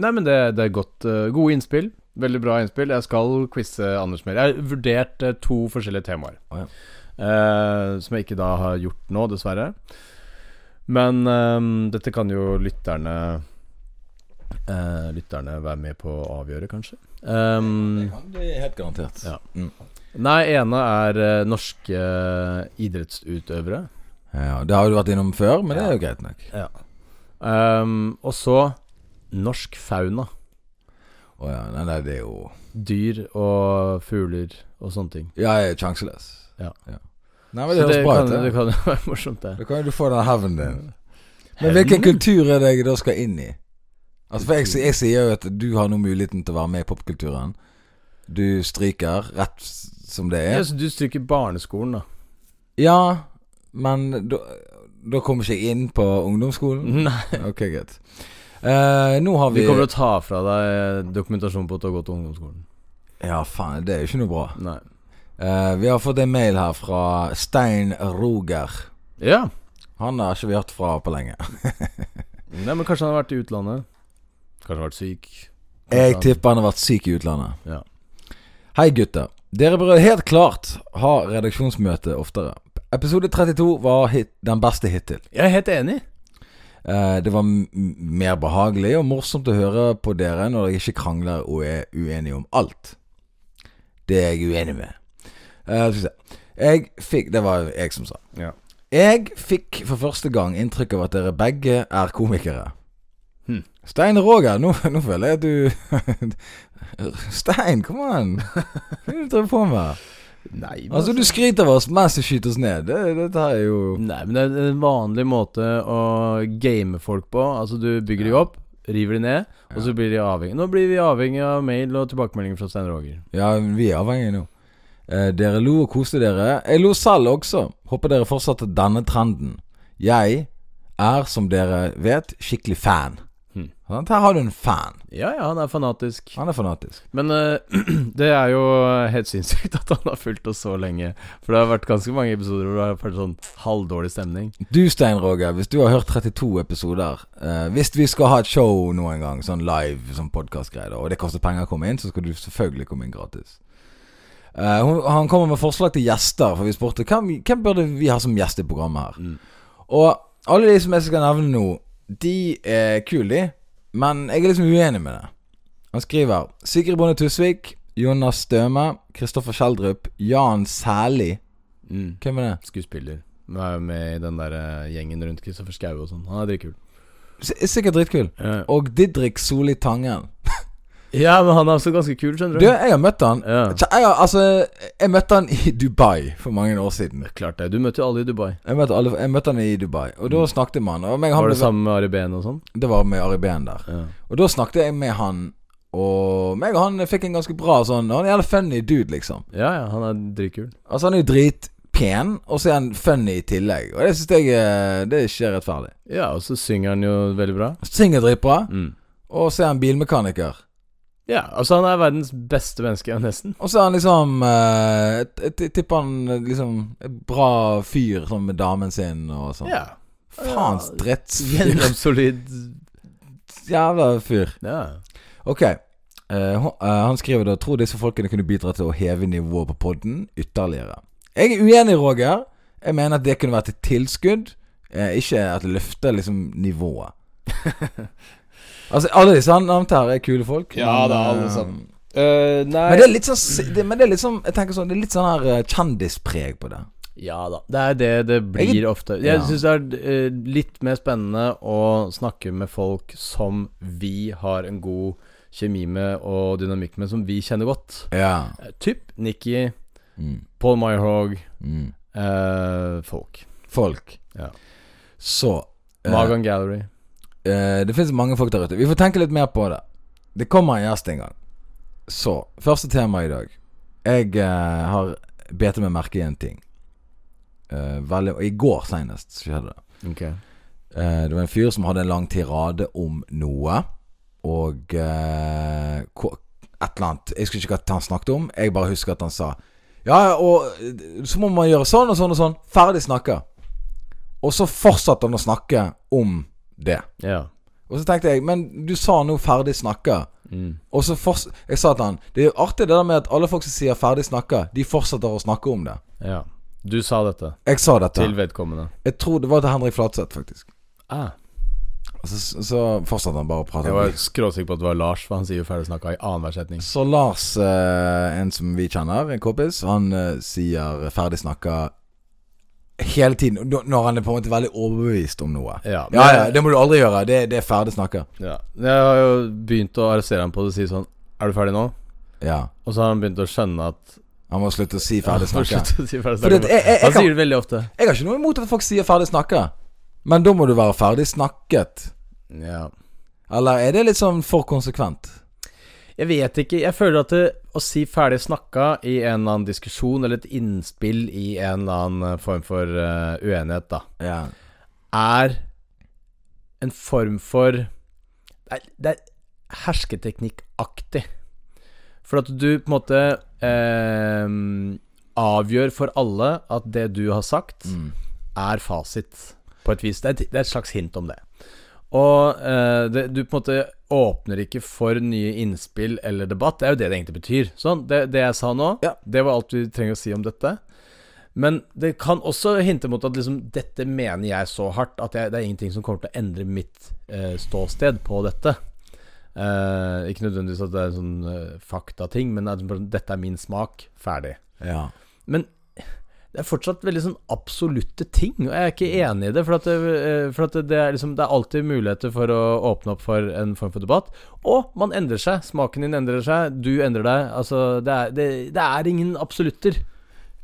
Speaker 3: Nei, men det, det er godt. eh, gode innspill. Veldig bra innspill. Jeg skal quize Anders mer. Jeg har vurdert eh, to forskjellige temaer.
Speaker 2: Å, ja.
Speaker 3: Eh, som jeg ikke da har gjort nå, dessverre. Men ehm, dette kan jo lytterne eh, Lytterne være med på å avgjøre, kanskje. Ehm,
Speaker 2: Det er helt garantert. Mm.
Speaker 3: Ja. nei, ene er eh, norske eh, idrettsutøvere.
Speaker 2: Ja, Det har jo du vært innom før, men det er jo greit nok.
Speaker 3: Ehm, og så norsk fauna.
Speaker 2: Å ja, nei, nei, det er jo
Speaker 3: Dyr og fugler og sånne ting.
Speaker 2: Ja, jeg er sjanseløs. Nei, men
Speaker 3: Så
Speaker 2: det høres
Speaker 3: det
Speaker 2: bra
Speaker 3: kan,
Speaker 2: ut.
Speaker 3: det
Speaker 2: det.
Speaker 3: kan jo [LAUGHS] være morsomt, det.
Speaker 2: Da kan jo du få den hevnen din. Men hvilken kultur er det jeg da skal inn i? Altså for jeg, si- jeg sier jo at du har nå muligheten til å være med i popkulturen. Du stryker rett s- som det
Speaker 3: Ja,
Speaker 2: er.
Speaker 3: så du stryker barneskolen,
Speaker 2: [LAUGHS]
Speaker 3: da.
Speaker 2: Ja, men da, da kommer ikke jeg inn på ungdomsskolen.
Speaker 3: Nei.
Speaker 2: [LAUGHS] Ok, greit. Eh, nå har vi
Speaker 3: Mhm. [LAUGHS] Vi kommer til å ta fra deg eh, dokumentasjon på at du har gått til ungdomsskolen.
Speaker 2: Ja, faen, det er jo ikke noe bra.
Speaker 3: Nei.
Speaker 2: Eh, vi har fått en mail her fra Stein Roger.
Speaker 3: Ja.
Speaker 2: Han har ikke vi hørt fra på lenge.
Speaker 3: Nei, men kanskje han har vært i utlandet. Kanskje han har vært syk. Kanskje
Speaker 2: Jeg
Speaker 3: han-
Speaker 2: tipper han har vært syk i utlandet.
Speaker 3: Ja.
Speaker 2: Hei gutter. Dere bør helt klart ha redaksjonsmøte oftere. Episode 32 var hit, den beste hittil.
Speaker 3: Jeg er helt enig.
Speaker 2: Eh, det var m m- mer behagelig og morsomt å høre på dere når dere ikke krangler og er uenige om alt. Det er jeg uenig med. Eh, skal vi se. Jeg fikk Det var jeg som sa.
Speaker 3: Ja.
Speaker 2: Jeg fikk for første gang inntrykk av at dere begge er komikere.
Speaker 3: Hm.
Speaker 2: Stein Roger, nå, nå føler jeg at du [LAUGHS] Stein, kom an! Hva er det du driver på med?
Speaker 3: Nei, men
Speaker 2: Altså, du skryter av oss mens du skyter oss ned. Det, dette her er jo
Speaker 3: Nei, men det er en vanlig måte å game folk på. Altså, du bygger de opp, river de ned, og så blir de avhengig. Nå blir vi avhengig av mail og tilbakemeldinger fra Stein Roger.
Speaker 2: Ja, vi er avhengige nå. Eh, dere lo og koste dere. Jeg lo selv også. Håper dere fortsetter denne trenden. Jeg er, som dere vet, skikkelig fan.
Speaker 3: Hmm.
Speaker 2: Sant? Her har du en fan.
Speaker 3: Ja, ja, han er fanatisk.
Speaker 2: Han er fanatisk.
Speaker 3: Men eh, [CLEARS THROAT] det er jo helt sinnssykt at han har fulgt oss så lenge. For det har vært ganske mange episoder hvor det har vært sånn halvdårlig stemning.
Speaker 2: Du, Stein Roger, hvis du har hørt 32 episoder eh, Hvis vi skal ha et show noen gang, sånn live, sånn podkastgreier, og det koster penger å komme inn, så skal du selvfølgelig komme inn gratis. Eh, hun, han kommer med forslag til gjester, for vi spurte hvem, hvem burde vi ha som gjest i programmet her. Og alle de som jeg skal nevne nå, de er kule, de. Men jeg er liksom uenig med det. Han skriver Sigrid Bonde Tusvik, Jonas Støme, Kristoffer Schjelderup, Jan Sæli
Speaker 3: Mm.
Speaker 2: Hvem er det?
Speaker 3: Skuespiller. Han er jo med i den der eh, gjengen rundt Kristoffer Schou og sånn. Han er dritkul.
Speaker 2: S sikkert dritkul.
Speaker 3: Eh,
Speaker 2: Og Didrik Soli Tangen.
Speaker 3: ja, men han er også ganske kul, skjønner
Speaker 2: Du,
Speaker 3: du.
Speaker 2: jeg har møtt han
Speaker 3: Ja.
Speaker 2: Tja, jeg, har, altså, jeg møtte han i Dubai for mange år siden.
Speaker 3: Klart det. Du møtte jo alle i Dubai.
Speaker 2: Jeg møtte, alle, jeg møtte han i Dubai, og da snakket jeg med han. Og meg, og han
Speaker 3: Mm. Var det
Speaker 2: ble,
Speaker 3: sammen med Ari Behn og sånn?
Speaker 2: det var med Ari Behn der.
Speaker 3: Ja.
Speaker 2: Og da snakket jeg med han, og meg og han fikk en ganske bra sånn Han er en jævla funny dude, liksom.
Speaker 3: Ja, ja, han er dritkul.
Speaker 2: Altså, han er jo dritpen, og så er han funny i tillegg. Og det syns jeg eh, Det er ikke rettferdig.
Speaker 3: Ja, og så synger han jo veldig bra.
Speaker 2: Synger dritbra,
Speaker 3: Mm.
Speaker 2: og så er han bilmekaniker.
Speaker 3: Ja, altså han er verdens beste menneske, nesten.
Speaker 2: Og så er han liksom eh, Jeg jeg tipper han eh, liksom en bra fyr sånn med damen sin og sånn.
Speaker 3: [LAUGHS] Ja.
Speaker 2: Faens drittsfyr.
Speaker 3: Gjennomsolid
Speaker 2: [LAUGHS] Jævla fyr.
Speaker 3: Ja.
Speaker 2: Ok. Eh, hå- eh, han skriver da Tror disse folkene kunne bidra til å heve nivået på podden ytterligere. Jeg er uenig, Roger. Jeg mener at det kunne vært et tilskudd, eh, ikke at det løfter liksom
Speaker 3: [LAUGHS]
Speaker 2: nivået. altså, alle disse han nevnte her, er kule folk.
Speaker 3: Ja da, alle
Speaker 2: eh,
Speaker 3: sammen. Eh, nei
Speaker 2: Men det er litt sånn s- det, Men det er litt sånn Jeg tenker sånn Det er litt sånn her eh, kjendispreg på det.
Speaker 3: Ja da. Det er det det blir
Speaker 2: Jeg-
Speaker 3: ofte.
Speaker 2: Ja.
Speaker 3: Jeg syns det er eh, litt mer spennende å snakke med folk som vi har en god kjemi med og dynamikk med, som vi kjenner godt.
Speaker 2: Ja.
Speaker 3: Eh, Typ Nikki,
Speaker 2: Mm.
Speaker 3: Paul Meyerhog,
Speaker 2: Mm.
Speaker 3: eh, folk.
Speaker 2: Folk.
Speaker 3: Ja.
Speaker 2: Så eh,
Speaker 3: Magan Gallery.
Speaker 2: Eh, det finnes mange folk der ute. Vi får tenke litt mer på det. Det kommer en gjest en gang. Så, første tema i dag. Jeg eh, har bet meg merke i en ting. Eh, veldig, og I går senest så skjedde det.
Speaker 3: Ok.
Speaker 2: Eh, det var en fyr som hadde en lang tirade om noe. Og eh, hva- et eller annet. Jeg husker ikke hva han snakket om. Jeg bare husker at han sa Ja, og eh, så må man gjøre sånn og sånn og sånn. Ferdig snakka. Og så fortsatte han å snakke om det.
Speaker 3: Ja.
Speaker 2: Og så tenkte jeg, men du sa nå 'ferdig snakka'.
Speaker 3: Mm.
Speaker 2: Og så fors Jeg sa til han Det er jo artig det der med at alle folk som sier 'ferdig snakka', de fortsetter å snakke om det.
Speaker 3: ja. Du sa dette
Speaker 2: Jeg sa dette.
Speaker 3: til vedkommende.
Speaker 2: Jeg tror det var til Henrik Flatseth, faktisk.
Speaker 3: Ah.
Speaker 2: Og så, så fortsatte han bare å prate.
Speaker 3: Jeg
Speaker 2: om
Speaker 3: var
Speaker 2: det.
Speaker 3: skråsikker på at det var Lars, for han sier jo ferdigsnakka i annenhver setning.
Speaker 2: Så Lars, eh, en som vi kjenner, en kompis, han eh, sier 'ferdig snakka' hele tiden. Når når han er på en måte veldig overbevist om noe.
Speaker 3: Ja, men-
Speaker 2: ja, ja, det må du aldri gjøre. Det, det er ferdig snakka.
Speaker 3: Ja. Jeg har jo begynt å arrestere ham på det og si sånn Er du ferdig nå?
Speaker 2: Ja.
Speaker 3: Og så har han begynt å skjønne at
Speaker 2: Han må slutte å si
Speaker 3: [LAUGHS]
Speaker 2: ferdig
Speaker 3: Han
Speaker 2: snakka.
Speaker 3: fortsetter å si ferdig
Speaker 2: Fordi at
Speaker 3: snakka.
Speaker 2: jeg- jeg- jeg
Speaker 3: Han
Speaker 2: kan-
Speaker 3: sier det veldig ofte.
Speaker 2: Jeg har ikke noe imot at folk sier ferdig snakka, men da må du være ferdig snakket.
Speaker 3: Ja.
Speaker 2: Eller er det litt sånn for konsekvent?
Speaker 3: Jeg vet ikke. Jeg føler at det, å si ferdig snakka i en eller annen diskusjon eller et innspill i en eller annen form for eh, uenighet, da,
Speaker 2: Ja.
Speaker 3: er en form for Det er, det er hersketeknikkaktig. For at du på en måte eh, avgjør for alle at det du har sagt,
Speaker 2: Mm.
Speaker 3: er fasit, på et vis. Det er, et- det er et slags hint om det. Og eh, det, du på en måte åpner ikke for nye innspill eller debatt. Det er jo det det egentlig betyr. Sånn, det, det jeg sa nå,
Speaker 2: Ja.
Speaker 3: det var alt vi trenger å si om dette. Men det kan også hinte mot at liksom, dette mener jeg så hardt at jeg, det er ingenting som kommer til å endre mitt eh, ståsted på dette. Eh, ikke nødvendigvis at det er en sånn eh, faktating, men at bare, dette er min smak. Ferdig.
Speaker 2: ja.
Speaker 3: Men det er fortsatt veldig sånn absolutte ting, og jeg er ikke enig i det. For, at det, eh, for at det, er liksom, det er alltid muligheter for å åpne opp for en form for debatt. Og man endrer seg. Smaken din endrer seg, du endrer deg. Altså, det er, det, det er ingen absolutter.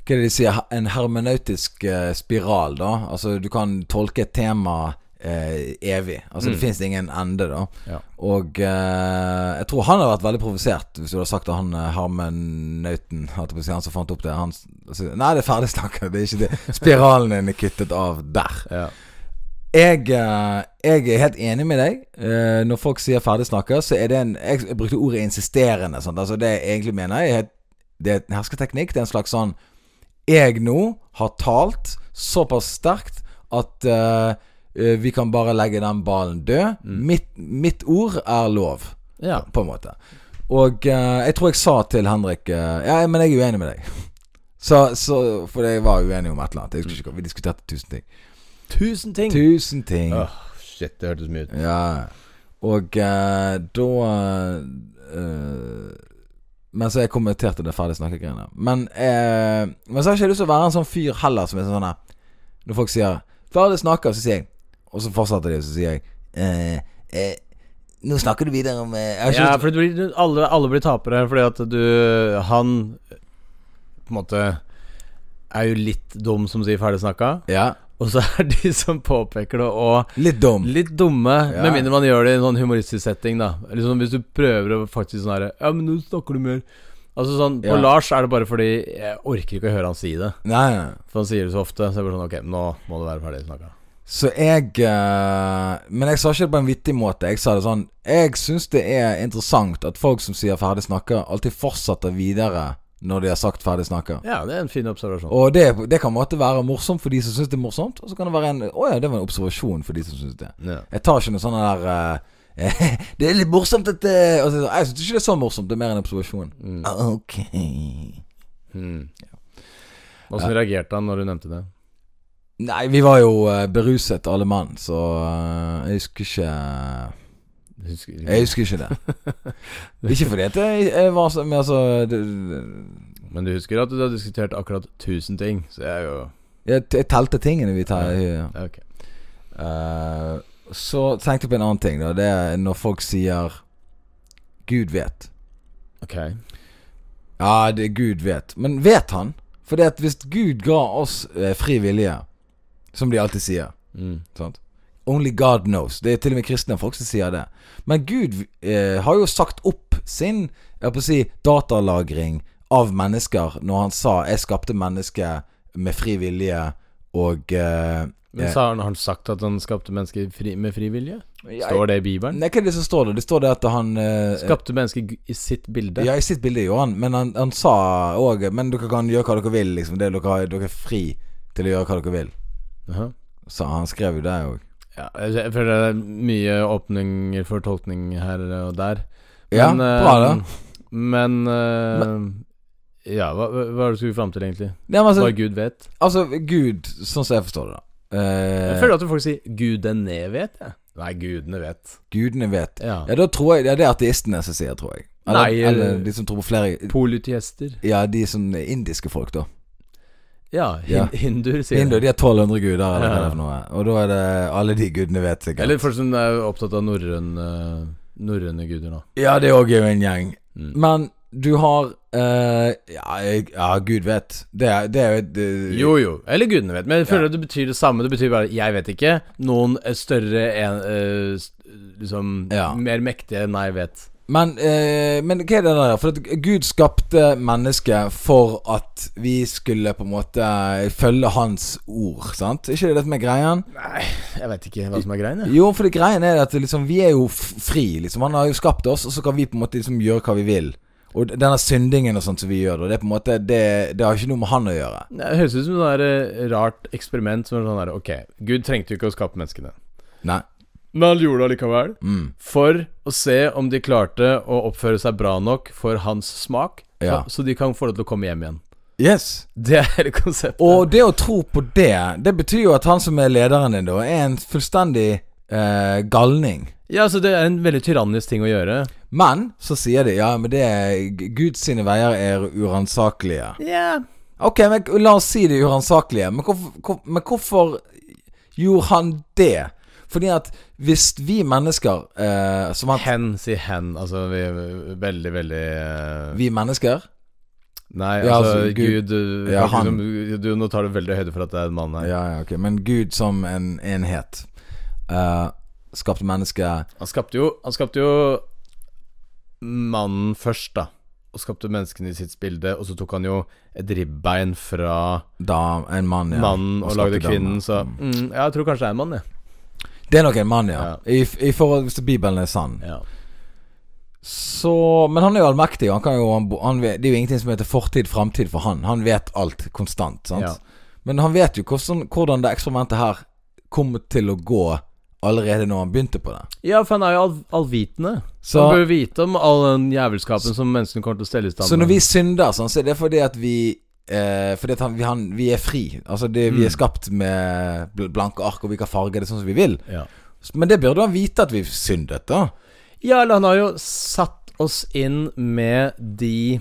Speaker 2: Hva er det de sier? En hermenautisk eh, spiral, da. Altså, du kan tolke et tema eh, evig. Altså, det fins ingen ende, da.
Speaker 3: Ja.
Speaker 2: Og eh, jeg tror han har vært veldig provosert, hvis du hadde sagt at han eh, hermenauten at det var Han som fant opp det. Han, s- altså, nei, det er ferdig snakka. Det er ikke det. Spiralen din er kuttet av der.
Speaker 3: Ja.
Speaker 2: Jeg, eh, jeg er helt enig med deg. Eh, Når folk sier ferdig snakka, så er det en Jeg brukte ordet insisterende. Sant? Altså det jeg egentlig mener, er helt- det er en hersketeknikk. Det er en slags sånn Jeg nå har talt såpass sterkt at eh, eh, vi kan bare legge den ballen død. Mitt, mitt ord er lov,
Speaker 3: Ja.
Speaker 2: på en måte. Og eh, jeg tror jeg sa til Henrik eh, Ja, men jeg er uenig med deg. [LAUGHS] Så, så, for jeg var uenig om et eller annet. Jeg husker ikke, hva- vi diskuterte tusen ting.
Speaker 3: Tusen ting!
Speaker 2: Tusen ting.
Speaker 3: Åh, shit, det hørtes mye ut.
Speaker 2: Ja. Og eh, da eh, Men så jeg kommenterte det ferdig snakkegreiene. Men, eh, men så har ikke jeg lyst til å være en sånn fyr heller som er sånn her Når folk sier 'Ferdig snakka', så sier jeg Og så fortsetter de, og så sier jeg eh, eh, 'Nå snakker du videre om eh, jeg har ikke
Speaker 3: Ja,
Speaker 2: lyst-
Speaker 3: for det blir, alle, alle blir tapere fordi at du Han på en måte er jo litt dum som sier ferdig snakka,
Speaker 2: ja.
Speaker 3: og så er [LAUGHS] de som påpeker det, og
Speaker 2: Litt dum.
Speaker 3: Litt dumme,
Speaker 2: Ja.
Speaker 3: med mindre man gjør det i en sånn humoristisk setting, da. Liksom Hvis du prøver å faktisk sånn herre Ja, men nå snakker du mer. Altså sånn På
Speaker 2: Ja.
Speaker 3: Lars er det bare fordi jeg orker ikke å høre han si det.
Speaker 2: Nei, nei.
Speaker 3: For han sier det så ofte. Så jeg bare sånn Ok, nå må du være ferdig snakka.
Speaker 2: Så jeg eh, Men jeg sa ikke det på en vittig måte. Jeg sa det sånn Jeg syns det er interessant at folk som sier ferdig snakka, alltid fortsetter videre når de har sagt ferdig snakka.
Speaker 3: Ja, det er en fin observasjon.
Speaker 2: Og det, det kan på en måte være morsomt for de som syns det er morsomt, og så kan det være en Å ja, det var en observasjon for de som syns det.
Speaker 3: Ja.
Speaker 2: Jeg tar ikke noe sånn der eh, [LAUGHS] Det er litt morsomt at det og så, er det sånn, Jeg syns ikke det er så morsomt, det er mer en observasjon.
Speaker 3: Mm.
Speaker 2: Ah, Ok.
Speaker 3: Hmm. Åssen reagerte han når du nevnte det?
Speaker 2: Nei, vi var jo eh, beruset alle mann, så eh, jeg husker ikke
Speaker 3: Husker ikke.
Speaker 2: Jeg husker ikke det. ikke fordi at jeg, jeg var så Men altså det, det-
Speaker 3: Men du husker at du har diskutert akkurat 1000 ting, så jeg er jo
Speaker 2: jeg, jeg telte tingene vi tar. Ja.
Speaker 3: ja, Ok.
Speaker 2: Eh, så tenkte jeg på en annen ting. Da. Det er når folk sier 'Gud vet'.
Speaker 3: Ok.
Speaker 2: Ja, det er Gud vet. Men vet han? For at hvis Gud ga oss eh, fri vilje, som de alltid sier
Speaker 3: Mm.
Speaker 2: sant? Only God knows. Det er til og med kristne folk som sier det. Men Gud eh, har jo sagt opp sin jeg holdt på å si, datalagring av mennesker når han sa 'Jeg skapte mennesket med fri vilje' og eh,
Speaker 3: Men sa han, har han sagt at han skapte mennesker fri, med fri vilje?
Speaker 2: jeg-
Speaker 3: Står det i Bibelen?
Speaker 2: Nei, hva er det som står der? Det står det at han eh,
Speaker 3: Skapte mennesker gu- i sitt bilde?
Speaker 2: Ja, i sitt bilde gjorde han, men han, han sa òg 'Men dere kan gjøre hva dere vil', liksom. Det, er dere, har- dere er fri til å gjøre hva dere vil.
Speaker 3: Aha.
Speaker 2: Så han skrev jo det òg.
Speaker 3: Ja, jeg jeg føler det er mye åpninger for tolkning her og der.
Speaker 2: Ja,
Speaker 3: eh,
Speaker 2: bra det.
Speaker 3: Men, eh, Ja, hva, hva hva er det du skulle fram til, egentlig?
Speaker 2: Nei, men
Speaker 3: Hva
Speaker 2: altså,
Speaker 3: Gud vet?
Speaker 2: altså, Gud, sånn som jeg forstår det, da. Eh,
Speaker 3: Jeg føler at folk sier 'gudene vet', jeg. Nei, gudene vet.
Speaker 2: Gudene vet.
Speaker 3: Ja.
Speaker 2: Ja, da tror jeg ja, Det er ateistene som sier, tror jeg. Eller,
Speaker 3: Nei, eh,
Speaker 2: eller de som tror på flere
Speaker 3: Polytiester.
Speaker 2: Ja, de som er indiske folk, da.
Speaker 3: Ja, hin
Speaker 2: Ja.
Speaker 3: hinduer sier
Speaker 2: Hindu,
Speaker 3: det.
Speaker 2: de har 1200 guder, eller hva
Speaker 3: Ja.
Speaker 2: det er for noe. Og da er det alle de gudene vet, sikkert.
Speaker 3: Eller folk som er opptatt av norrøn, eh, norrøne guder, da.
Speaker 2: ja, det er òg en gjeng.
Speaker 3: Mm.
Speaker 2: Men du har eh, Eh, ja, jeg, ja, gud vet. Det er, det er jo eh, det-
Speaker 3: Jo, jo. Eller gudene vet. Men jeg føler at det betyr det samme. Det betyr bare 'jeg vet ikke'. Noen er større en, eh, s- Liksom
Speaker 2: Ja.
Speaker 3: mer mektige enn jeg vet.
Speaker 2: Men, eh, men hva er det der? For at Gud skapte mennesket for at vi skulle på en måte eh, følge hans ord, sant? Er ikke det det som er greien?
Speaker 3: Jeg vet ikke hva som er greia.
Speaker 2: Jo, for det greien er at liksom, vi er jo f- fri. Liksom. Han har jo skapt oss, og så kan vi på en måte liksom, gjøre hva vi vil. Og d- denne syndingen og sånt som vi gjør, da, det, er på en måte, det, det har ikke noe med han å gjøre.
Speaker 3: Det høres ut som et rart eksperiment. Som er sånn der, ok, Gud trengte jo ikke å skape menneskene.
Speaker 2: Nei.
Speaker 3: Men han gjorde det allikevel.
Speaker 2: Mm.
Speaker 3: For å se om de klarte å oppføre seg bra nok for hans smak,
Speaker 2: Ja.
Speaker 3: så, så de kan få lov til å komme hjem igjen.
Speaker 2: Yes.
Speaker 3: Det er konseptet.
Speaker 2: Og det å tro på det, det betyr jo at han som er lederen din, da, er en fullstendig eh, galning.
Speaker 3: Ja, så det er en veldig tyrannisk ting å gjøre.
Speaker 2: Men så sier de ja, men det er G- Guds sine veier er uransakelige.
Speaker 3: Ja.
Speaker 2: Ok, men k- la oss si det er uransakelige, men hvorfor, hvor, men hvorfor gjorde han det? Fordi at hvis vi mennesker eh, som han,
Speaker 3: Hen, si hen. Altså, vi er veldig, veldig eh,
Speaker 2: Vi mennesker?
Speaker 3: Nei,
Speaker 2: Ja,
Speaker 3: altså,
Speaker 2: altså, Gud-
Speaker 3: Gud, du,
Speaker 2: Ja, han.
Speaker 3: du, du, Nå tar du veldig høyde for at det er en mann her.
Speaker 2: Ja, ja, ok. Men Gud som en enhet. Eh, skapte mennesket
Speaker 3: Han skapte jo Han skapte jo mannen først, da. Og skapte menneskene i sitt bilde, og så tok han jo et ribbein fra
Speaker 2: da en mann, ja.
Speaker 3: mannen og, lagde
Speaker 2: skapte damen.
Speaker 3: kvinnen, så mm, ja, Jeg tror kanskje det er en mann, jeg.
Speaker 2: Det er nok en mann, ja.
Speaker 3: Ja.
Speaker 2: I, i forhold Hvis Bibelen er sann.
Speaker 3: Ja.
Speaker 2: Så Men han er jo allmektig. Han kan jo, han, bo- han vet, det er jo ingenting som heter fortid, framtid for han. Han vet alt konstant. Sant?
Speaker 3: Ja.
Speaker 2: Men han vet jo hvordan, hvordan det eksperimentet her kom til å gå allerede når han begynte på det.
Speaker 3: for han er jo all, allvitende.
Speaker 2: Så-
Speaker 3: han bør jo vite om all den jævelskapen som menneskene kommer til å stelle i stand.
Speaker 2: Så når vi synder, sånn, så er det fordi at vi eh, fordi at han, vi, han, vi er fri. Altså det, Vi er
Speaker 3: Mm.
Speaker 2: skapt med bl- blanke ark, og vi kan farge det sånn som vi vil.
Speaker 3: ja.
Speaker 2: Men det burde han vite at vi syndet, da.
Speaker 3: ja, eller han har jo satt oss inn med de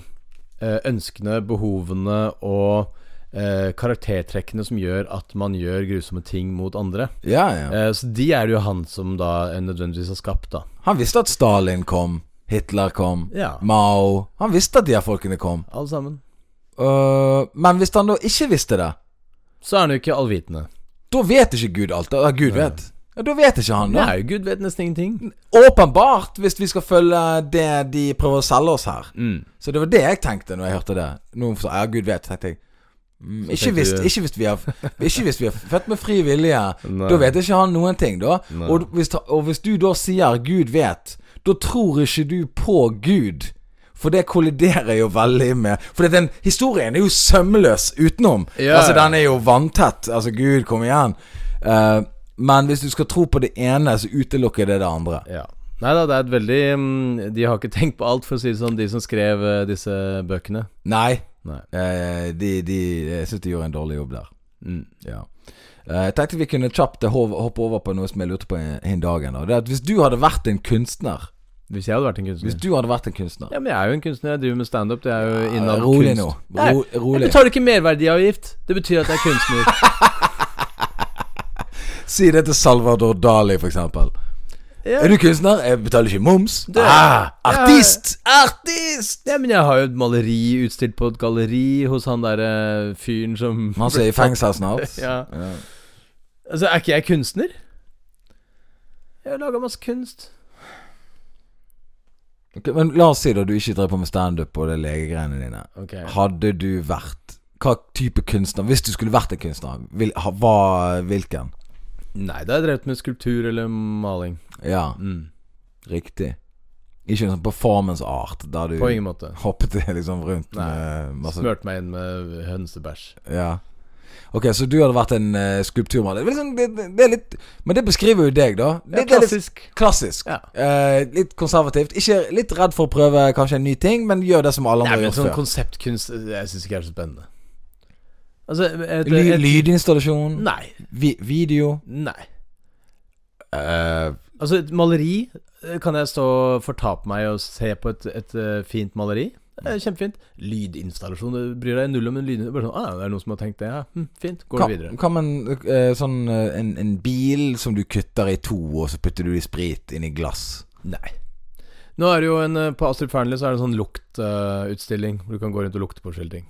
Speaker 3: eh, ønskene, behovene og eh, karaktertrekkene som gjør at man gjør grusomme ting mot andre.
Speaker 2: Ja, ja.
Speaker 3: Eh, så de er det jo han som da eh, nødvendigvis har skapt, da.
Speaker 2: Han visste at Stalin kom. Hitler kom.
Speaker 3: Ja.
Speaker 2: Mao. Han visste at de her folkene kom.
Speaker 3: Alle sammen.
Speaker 2: Øh, men hvis han da ikke visste det,
Speaker 3: Så er han jo ikke allvitende.
Speaker 2: da vet ikke Gud alt. Ja, Gud vet. Ja, da vet ikke han, da.
Speaker 3: Nei, Gud vet nesten ingenting.
Speaker 2: Åpenbart, hvis vi skal følge det de prøver å selge oss her.
Speaker 3: Mm.
Speaker 2: Så det var det jeg tenkte når jeg hørte det. Noen sa ja, Gud vet, tenkte jeg. Mm, ikke,
Speaker 3: tenkte
Speaker 2: hvis,
Speaker 3: du-
Speaker 2: ikke, hvis vi er, ikke hvis vi er født med fri vilje.
Speaker 3: Nei.
Speaker 2: Da vet ikke han noen ting, da.
Speaker 3: Nei.
Speaker 2: Og hvis, og hvis du da sier 'Gud vet', da tror ikke du på Gud. For det kolliderer jo veldig med For den historien er jo sømløs utenom.
Speaker 3: Ja.
Speaker 2: Altså Den er jo vanntett. Altså, Gud, kom igjen. Eh, men hvis du skal tro på det ene, så utelukker det det andre.
Speaker 3: Ja. Nei da, det er et veldig mm, De har ikke tenkt på alt, for å si det sånn, de som skrev eh, disse bøkene.
Speaker 2: Nei.
Speaker 3: Nei.
Speaker 2: Eh, de, de, jeg syns de gjorde en dårlig jobb der.
Speaker 3: Mm.
Speaker 2: Ja. Eh, Jeg tenkte vi kunne kjapt hov- hoppe over på noe som jeg lurte på en, en dag. Da. Det er at hvis du hadde vært en kunstner
Speaker 3: Hvis jeg hadde vært en
Speaker 2: Hvis
Speaker 3: kunstner
Speaker 2: du hadde vært en kunstner
Speaker 3: Ja, men jeg er jo en kunstner. Jeg driver med standup. Det er jo innad
Speaker 2: Rolig
Speaker 3: kunst.
Speaker 2: nå.
Speaker 3: Nei,
Speaker 2: Ro, rolig.
Speaker 3: Jeg betaler ikke merverdiavgift. Det betyr at jeg er
Speaker 2: [LAUGHS]
Speaker 3: kunstner.
Speaker 2: Si det til Salvador Dali, for eksempel.
Speaker 3: Ja.
Speaker 2: Er du kunstner? Jeg betaler ikke moms.
Speaker 3: Det-
Speaker 2: ah, artist! Artist!
Speaker 3: Nei, men jeg har jo et maleri utstilt på et galleri hos han derre fyren som
Speaker 2: Han
Speaker 3: [LAUGHS]
Speaker 2: som er i fengsel snart.
Speaker 3: Ja. Altså, er ikke jeg kunstner? Jeg har laga masse kunst.
Speaker 2: Ok, men la oss si da du ikke driver på med standup og det er legegreiene dine.
Speaker 3: Ok
Speaker 2: Hadde du vært Hva type kunstner? Hvis du skulle vært en kunstner, vil, ha, hva, hvilken?
Speaker 3: Nei, da har jeg drevet med skulptur eller maling.
Speaker 2: Ja,
Speaker 3: Mm.
Speaker 2: riktig. Ikke en sånn performance art der du
Speaker 3: På ingen måte.
Speaker 2: hoppet [LAUGHS] liksom rundt med masse
Speaker 3: Smurt meg inn med hønsebæsj.
Speaker 2: Ja. Ok, så du hadde vært en eh, skulpturmaler. Det, er liksom, det, det- det er litt Men det beskriver jo deg, da. Det, det
Speaker 3: Ja,
Speaker 2: er litt
Speaker 3: klassisk.
Speaker 2: klassisk.
Speaker 3: Ja.
Speaker 2: Eh, litt konservativt. Ikke litt redd for å prøve kanskje en ny ting, men gjør det som alle andre
Speaker 3: Nei,
Speaker 2: har
Speaker 3: men
Speaker 2: gjort
Speaker 3: sånn
Speaker 2: før.
Speaker 3: konseptkunst eh, Jeg syns ikke er så spennende. Altså et,
Speaker 2: Ly,
Speaker 3: et,
Speaker 2: lydinstallasjon.
Speaker 3: Nei.
Speaker 2: Vi, video.
Speaker 3: Nei.
Speaker 2: eh,
Speaker 3: Altså, et maleri eh, kan jeg stå og fortape meg og se på et, et eh, fint maleri. Det er Kjempefint. Lydinstallasjon, du bryr deg null om en lyd... Bare sånn, ah, det er noen som har tenkt det, ja. Hm, fint, går
Speaker 2: Kan-
Speaker 3: det videre.
Speaker 2: Kan man eh, sånn eh, en, en bil som du kutter i to, og så putter du i sprit inn i glass?
Speaker 3: Nei. Nå er det jo en eh, På Astrid Fearnley så er det en sånn luktutstilling hvor du kan gå rundt og lukte på skilting.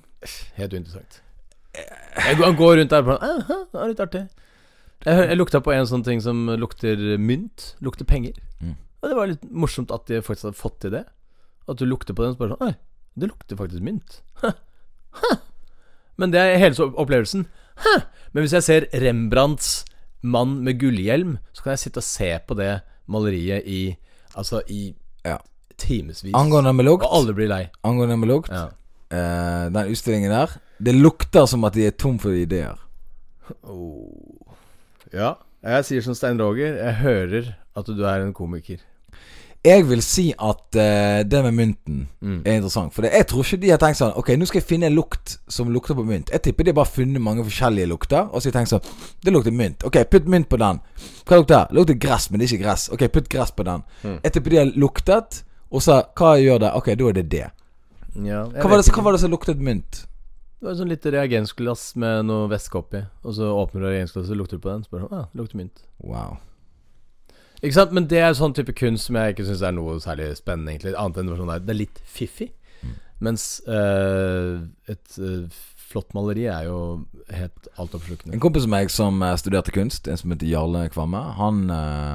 Speaker 3: Helt uinteressant. Eh, Jeg går- han går rundt der og bare Aha, det er litt artig. Jeg, hø- jeg lukta på en sånn ting som lukter mynt. Lukter penger.
Speaker 2: Mm.
Speaker 3: Og det var litt morsomt at de faktisk hadde fått til det. At du lukter på den og så bare sånn Oi, det lukter faktisk mynt. Hæ. Hæ. Men det er hele så- opplevelsen. Hæ. Men hvis jeg ser Rembrandts mann med gullhjelm, så kan jeg sitte og se på det maleriet i Altså i
Speaker 2: Ja.
Speaker 3: timevis.
Speaker 2: Angående med lukt,
Speaker 3: Og alle blir lei.
Speaker 2: angående med lukt
Speaker 3: Ja.
Speaker 2: eh, Den utstillingen der Det lukter som at de er tom for ideer.
Speaker 3: Oh. ja. Jeg sier som Stein Roger, jeg hører at du er en komiker.
Speaker 2: Jeg vil si at eh, det med mynten
Speaker 3: Mm.
Speaker 2: er interessant. For det, jeg tror ikke de har tenkt sånn Ok, nå skal jeg finne en lukt som lukter på mynt. Jeg tipper de har bare funnet mange forskjellige lukter, og så har de tenkt sånn Det lukter mynt. Ok, putt mynt på den. Hva lukter det? Lukter gress, men det er ikke gress. Ok, putt gress på den.
Speaker 3: Mm.
Speaker 2: Jeg tipper de har luktet, og så Hva gjør det? Ok, da er det det.
Speaker 3: Ja, jeg
Speaker 2: Hva var
Speaker 3: vet
Speaker 2: det,
Speaker 3: ikke.
Speaker 2: hva var det som luktet mynt?
Speaker 3: Det var et sånn lite reagensglass med noe væske oppi, og så åpner du reagensglasset og lukter du på den, så bare ah, lukter mynt.
Speaker 2: Wow.
Speaker 3: Ikke sant? Men det er sånn type kunst som jeg ikke syns er noe særlig spennende, egentlig. Annet enn det var sånn der, det er litt fiffig.
Speaker 2: Mm.
Speaker 3: Mens eh, et eh, flott maleri er jo helt altoppslukende.
Speaker 2: En kompis av meg som eh, studerte kunst, en som heter Jarle Kvamme, han eh,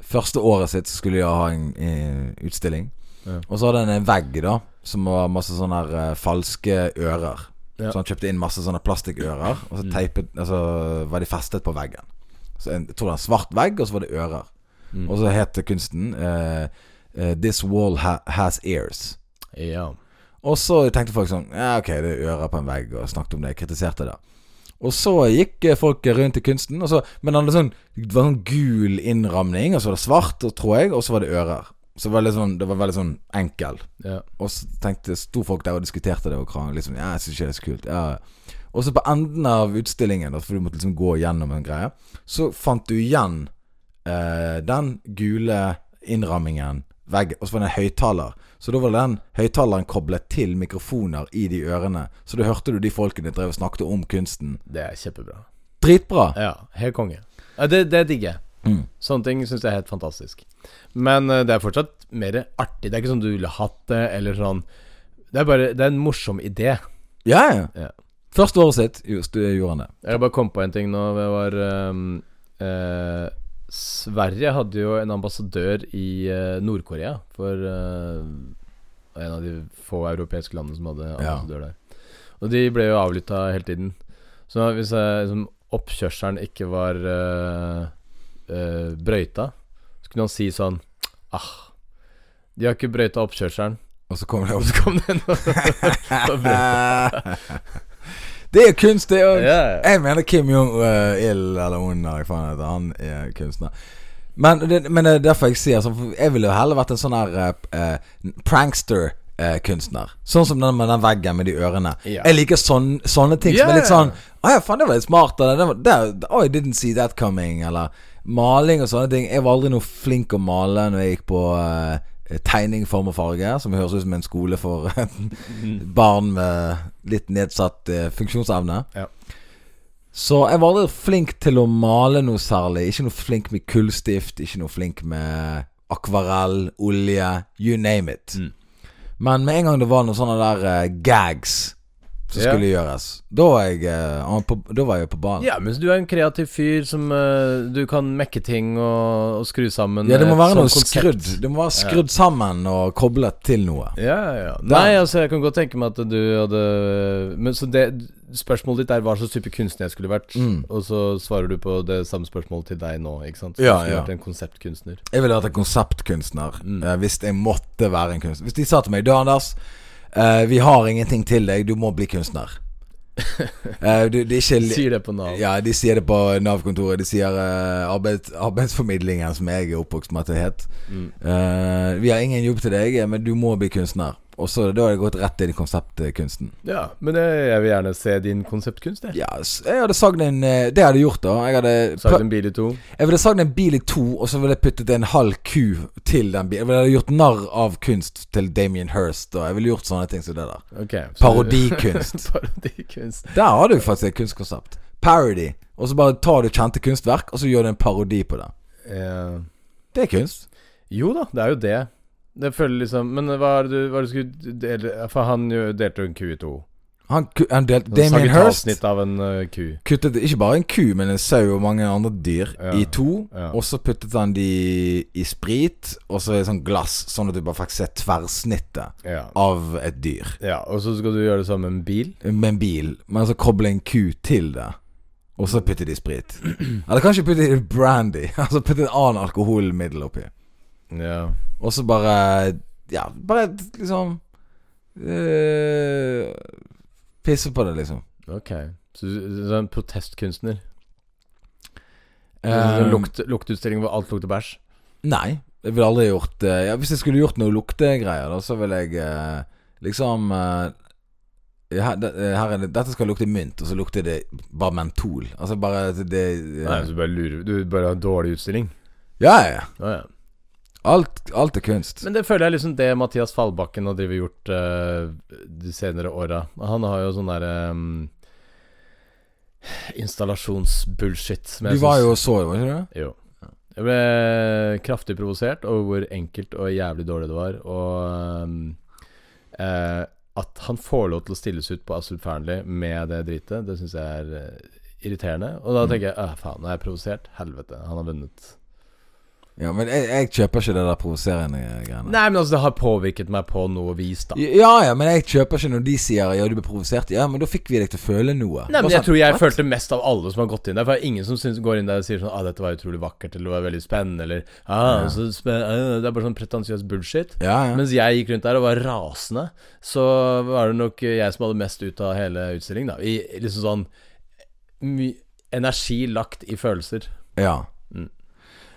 Speaker 2: Første året sitt så skulle de ha en eh, utstilling.
Speaker 3: Ja.
Speaker 2: Og så hadde han en vegg da som var masse sånne her, eh, falske ører.
Speaker 3: Ja. Mm.
Speaker 2: Så han kjøpte inn masse sånne plastikkører, og så teipet, altså, var de festet på veggen. Så en, jeg tror det var en svart vegg, og så var det ører.
Speaker 3: Mm.
Speaker 2: Og så het kunsten eh, eh, 'This wall ha has ears'.
Speaker 3: Ja.
Speaker 2: Og så tenkte folk sånn Ja, ok, det er ører på en vegg, og snakket om det, kritiserte det. Og så gikk eh, folk rundt i kunsten, og så, men han hadde sånn, det var sånn gul innramning, og så var det svart, og, tror jeg, og så var det ører. Så det var, litt sånn, det var veldig sånn enkel.
Speaker 3: ja.
Speaker 2: Og så tenkte, sto folk der og diskuterte det og kranglet. Liksom, ja, jeg synes ikke det er så kult. Ja. Og så på enden av utstillingen, da, for du måtte liksom gå gjennom en greie, så fant du igjen eh, den gule innrammingen, vegg, og så var det en høyttaler. Så da var den høyttaleren koblet til mikrofoner i de ørene. Så da hørte du de folkene drev og snakket om kunsten.
Speaker 3: Det er kjempebra.
Speaker 2: Dritbra!
Speaker 3: Ja, helt konge. Ja, det, det digger jeg.
Speaker 2: Mm.
Speaker 3: Sånne ting syns jeg er helt fantastisk. Men eh, det er fortsatt mer artig. Det er ikke sånn du ville hatt det, eller sånn Det er bare Det er en morsom idé.
Speaker 2: Ja, ja.
Speaker 3: Ja.
Speaker 2: Første året sitt just, gjorde han det.
Speaker 3: Jeg har bare kommet på en ting nå. Det var ehm, eh, Sverige hadde jo en ambassadør i eh, Nord-Korea for eh, en av de få europeiske landene som hadde ambassadør der. Og de ble jo avlytta hele tiden. Så hvis jeg, liksom, oppkjørselen ikke var eh, eh, brøyta, så kunne han si sånn Ah, de har ikke brøyta oppkjørselen. [LAUGHS]
Speaker 2: Og så kom det
Speaker 3: Og så kom det en og brøyta.
Speaker 2: Det er kunst, det òg.
Speaker 3: Ja, ja.
Speaker 2: Jeg mener Kim Jong-il, eller hun, eller hva faen heter han, er kunstner. Men det, men det er derfor jeg sier sånn, for jeg ville jo heller vært en sånn her eh, eh, prankster-kunstner. sånn som den med den veggen med de ørene.
Speaker 3: Ja.
Speaker 2: Jeg liker sånn, sånne ting som
Speaker 3: Ja,
Speaker 2: er litt
Speaker 3: ja, ja.
Speaker 2: sånn Å ja, faen, det var litt smart. Eller, det var, det, oh, I didn't see that coming. Eller maling og sånne ting. Jeg var aldri noe flink å male når jeg gikk på eh, tegning, form og farge, som høres ut som en skole for eh,
Speaker 3: [LAUGHS]
Speaker 2: barn med litt nedsatt eh, funksjonsevne.
Speaker 3: Ja.
Speaker 2: Så jeg var aldri flink til å male noe særlig. Ikke noe flink med kullstift, ikke noe flink med akvarell, olje, you name it.
Speaker 3: Mm.
Speaker 2: Men med en gang det var noen sånne der eh, gags som
Speaker 3: Ja.
Speaker 2: skulle gjøres, da var jeg, eh, on- på, da var jeg på banen.
Speaker 3: Ja, men du er en kreativ fyr som eh, Du kan mekke ting og, og skru sammen.
Speaker 2: Ja, det må
Speaker 3: et
Speaker 2: være
Speaker 3: sånt
Speaker 2: noe
Speaker 3: Eh, konsept.
Speaker 2: skrudd. Det må være skrudd sammen og koblet til noe.
Speaker 3: Ja, ja, ja. Nei, altså, jeg kan godt tenke meg at du hadde Men så det Spørsmålet ditt er hva slags type kunstner jeg skulle vært,
Speaker 2: Mm.
Speaker 3: og så svarer du på det samme spørsmålet til deg nå, ikke sant? Så
Speaker 2: Ja,
Speaker 3: du skulle
Speaker 2: ja.
Speaker 3: vært en konseptkunstner.
Speaker 2: Jeg ville vært en konseptkunstner
Speaker 3: Mm.
Speaker 2: eh, hvis jeg måtte være en kunstner. Hvis de sa til meg Du, Anders, eh, vi har ingenting til deg, du må bli
Speaker 3: [LAUGHS]
Speaker 2: kunstner. Eh, du, det er ikke li-
Speaker 3: Sier det på Nav.
Speaker 2: Ja, de sier det på Nav-kontoret. De sier eh, arbeid, arbeidsformidlingen, som jeg er oppvokst med at det het.
Speaker 3: Mm.
Speaker 2: Eh, vi har ingen jobb til deg, eh, men du må bli kunstner. Og så da har jeg gått rett inn i konseptkunsten.
Speaker 3: Ja, men jeg, jeg vil gjerne se din konseptkunst, jeg.
Speaker 2: Ja, s- jeg hadde sagd en eh, Det hadde jeg gjort, da. Jeg hadde
Speaker 3: Sagd en bil i to.
Speaker 2: Jeg ville sagd en bil i to, og så ville jeg puttet en halv ku til den bilen. Jeg ville gjort narr av kunst til Damien Hirst, og jeg ville gjort sånne ting som det der.
Speaker 3: Ok. så-
Speaker 2: Parodikunst.
Speaker 3: [LAUGHS] Parodikunst.
Speaker 2: Der har du faktisk et kunstkonsept. Parody. Og så bare tar du kjente kunstverk, og så gjør du en parodi på det.
Speaker 3: Ja.
Speaker 2: Det er kunst.
Speaker 3: Jo da, det er jo det. Det føler liksom Men hva er det du, hva er det du skulle dele For han jo delte jo en ku i to.
Speaker 2: Han, ku- han delte
Speaker 3: Sånn
Speaker 2: Damien Hirst
Speaker 3: sagittalsnitt av en eh, ku.
Speaker 2: kuttet ikke bare en ku, men en sau og mange andre dyr
Speaker 3: Ja,
Speaker 2: i to.
Speaker 3: ja.
Speaker 2: Og så puttet han de i sprit, og så i sånn glass, sånn at du bare fikk se tverrsnittet
Speaker 3: Ja.
Speaker 2: av et dyr.
Speaker 3: ja. Og så skal du gjøre det samme med en bil?
Speaker 2: Med en bil, men så koble en ku til det. Og så putte de sprit. [CLEARS THROAT] Eller kanskje putte i brandy. [LAUGHS] Altså putte et annet alkoholmiddel oppi.
Speaker 3: Ja.
Speaker 2: Og så bare Ja, bare liksom eh, Pisse på det, liksom.
Speaker 3: Ok. Så du du er en protestkunstner?
Speaker 2: Eh,
Speaker 3: Sånn lukt, luktutstilling hvor alt lukter bæsj?
Speaker 2: Nei, jeg ville aldri gjort eh, ja, Hvis jeg skulle gjort noe luktegreier, da, så ville jeg eh, liksom eh, ja, her, det- eh, her er det, Dette skal lukte mynt, og så lukter det bare mentol. Altså bare at det eh,
Speaker 3: Nei, altså- så du bare lurer Du bare har en dårlig utstilling?
Speaker 2: Ja, ja. ja.
Speaker 3: Å, ja.
Speaker 2: Alt, alt er kunst.
Speaker 3: Men det føler jeg liksom det Mathias Fallbakken har drevet gjort eh, de senere åra. Han har jo sånn derre installasjonsbullshit. som jeg
Speaker 2: Du var
Speaker 3: syns-
Speaker 2: jo og så det, var ikke du det?
Speaker 3: Jo. Jeg ble kraftig provosert over hvor enkelt og jævlig dårlig det var. Og ehm, eh, at han får lov til å stilles ut på Astrup Fearnley med det dritet, det syns jeg er eh, irriterende. Og da tenker jeg «Åh, faen, nå er jeg provosert. Helvete, han har vunnet.
Speaker 2: Ja, men jeg, jeg kjøper ikke det der provoserende greiene.
Speaker 3: Nei, men altså, det har påvirket meg på noe vis, da.
Speaker 2: Ja ja, men jeg kjøper ikke når de sier 'ja, du ble provosert'. Ja, men da fikk vi deg til å føle noe.
Speaker 3: Nei, men
Speaker 2: Bare
Speaker 3: jeg
Speaker 2: sånn,
Speaker 3: tror jeg
Speaker 2: «What?»
Speaker 3: følte mest av alle som har gått inn der. For det er ingen som syns, går inn der og sier sånn ah, 'Dette var utrolig vakkert', eller 'Det var veldig spennende', eller ah, så spen ah, Det er bare sånn pretensiøs bullshit.
Speaker 2: Ja, ja.
Speaker 3: Mens jeg gikk rundt der og var rasende, så var det nok jeg som hadde mest ut av hele utstillingen, da. I liksom sånn my energi lagt i følelser.
Speaker 2: ja.
Speaker 3: Mm.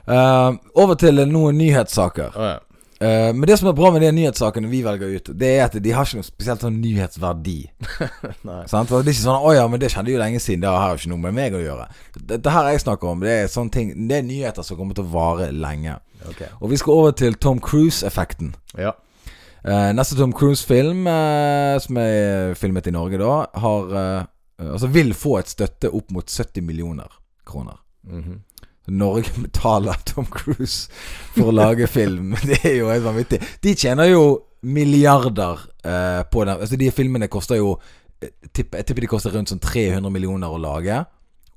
Speaker 2: Eh, over til noen nyhetssaker.
Speaker 3: Å ja. [LAUGHS]
Speaker 2: Eh, men det som er bra med de nyhetssakene vi velger ut, det er at de har ikke noe spesielt sånn nyhetsverdi.
Speaker 3: [LAUGHS] Nei.
Speaker 2: Sant? Og Det er ikke sånn 'Å ja, men det skjedde jo lenge siden', det har jo ikke noe med meg å gjøre. Dette her jeg snakker om, det er sånne ting Det er nyheter som kommer til å vare lenge.
Speaker 3: Ok.
Speaker 2: Og vi skal over til Tom Cruise-effekten.
Speaker 3: Ja.
Speaker 2: Eh, neste Tom Cruise-film, eh, som er filmet i Norge da, har eh, Altså vil få et støtte opp mot 70 millioner kroner.
Speaker 3: Mhm.
Speaker 2: Norge [LAUGHS] betaler Tom Cruise for å lage film. [LAUGHS] Det er jo helt vanvittig. De tjener jo milliarder eh, på den. Altså, de filmene koster jo eh, tipp- Jeg tipper de koster rundt sånn 300 millioner å lage.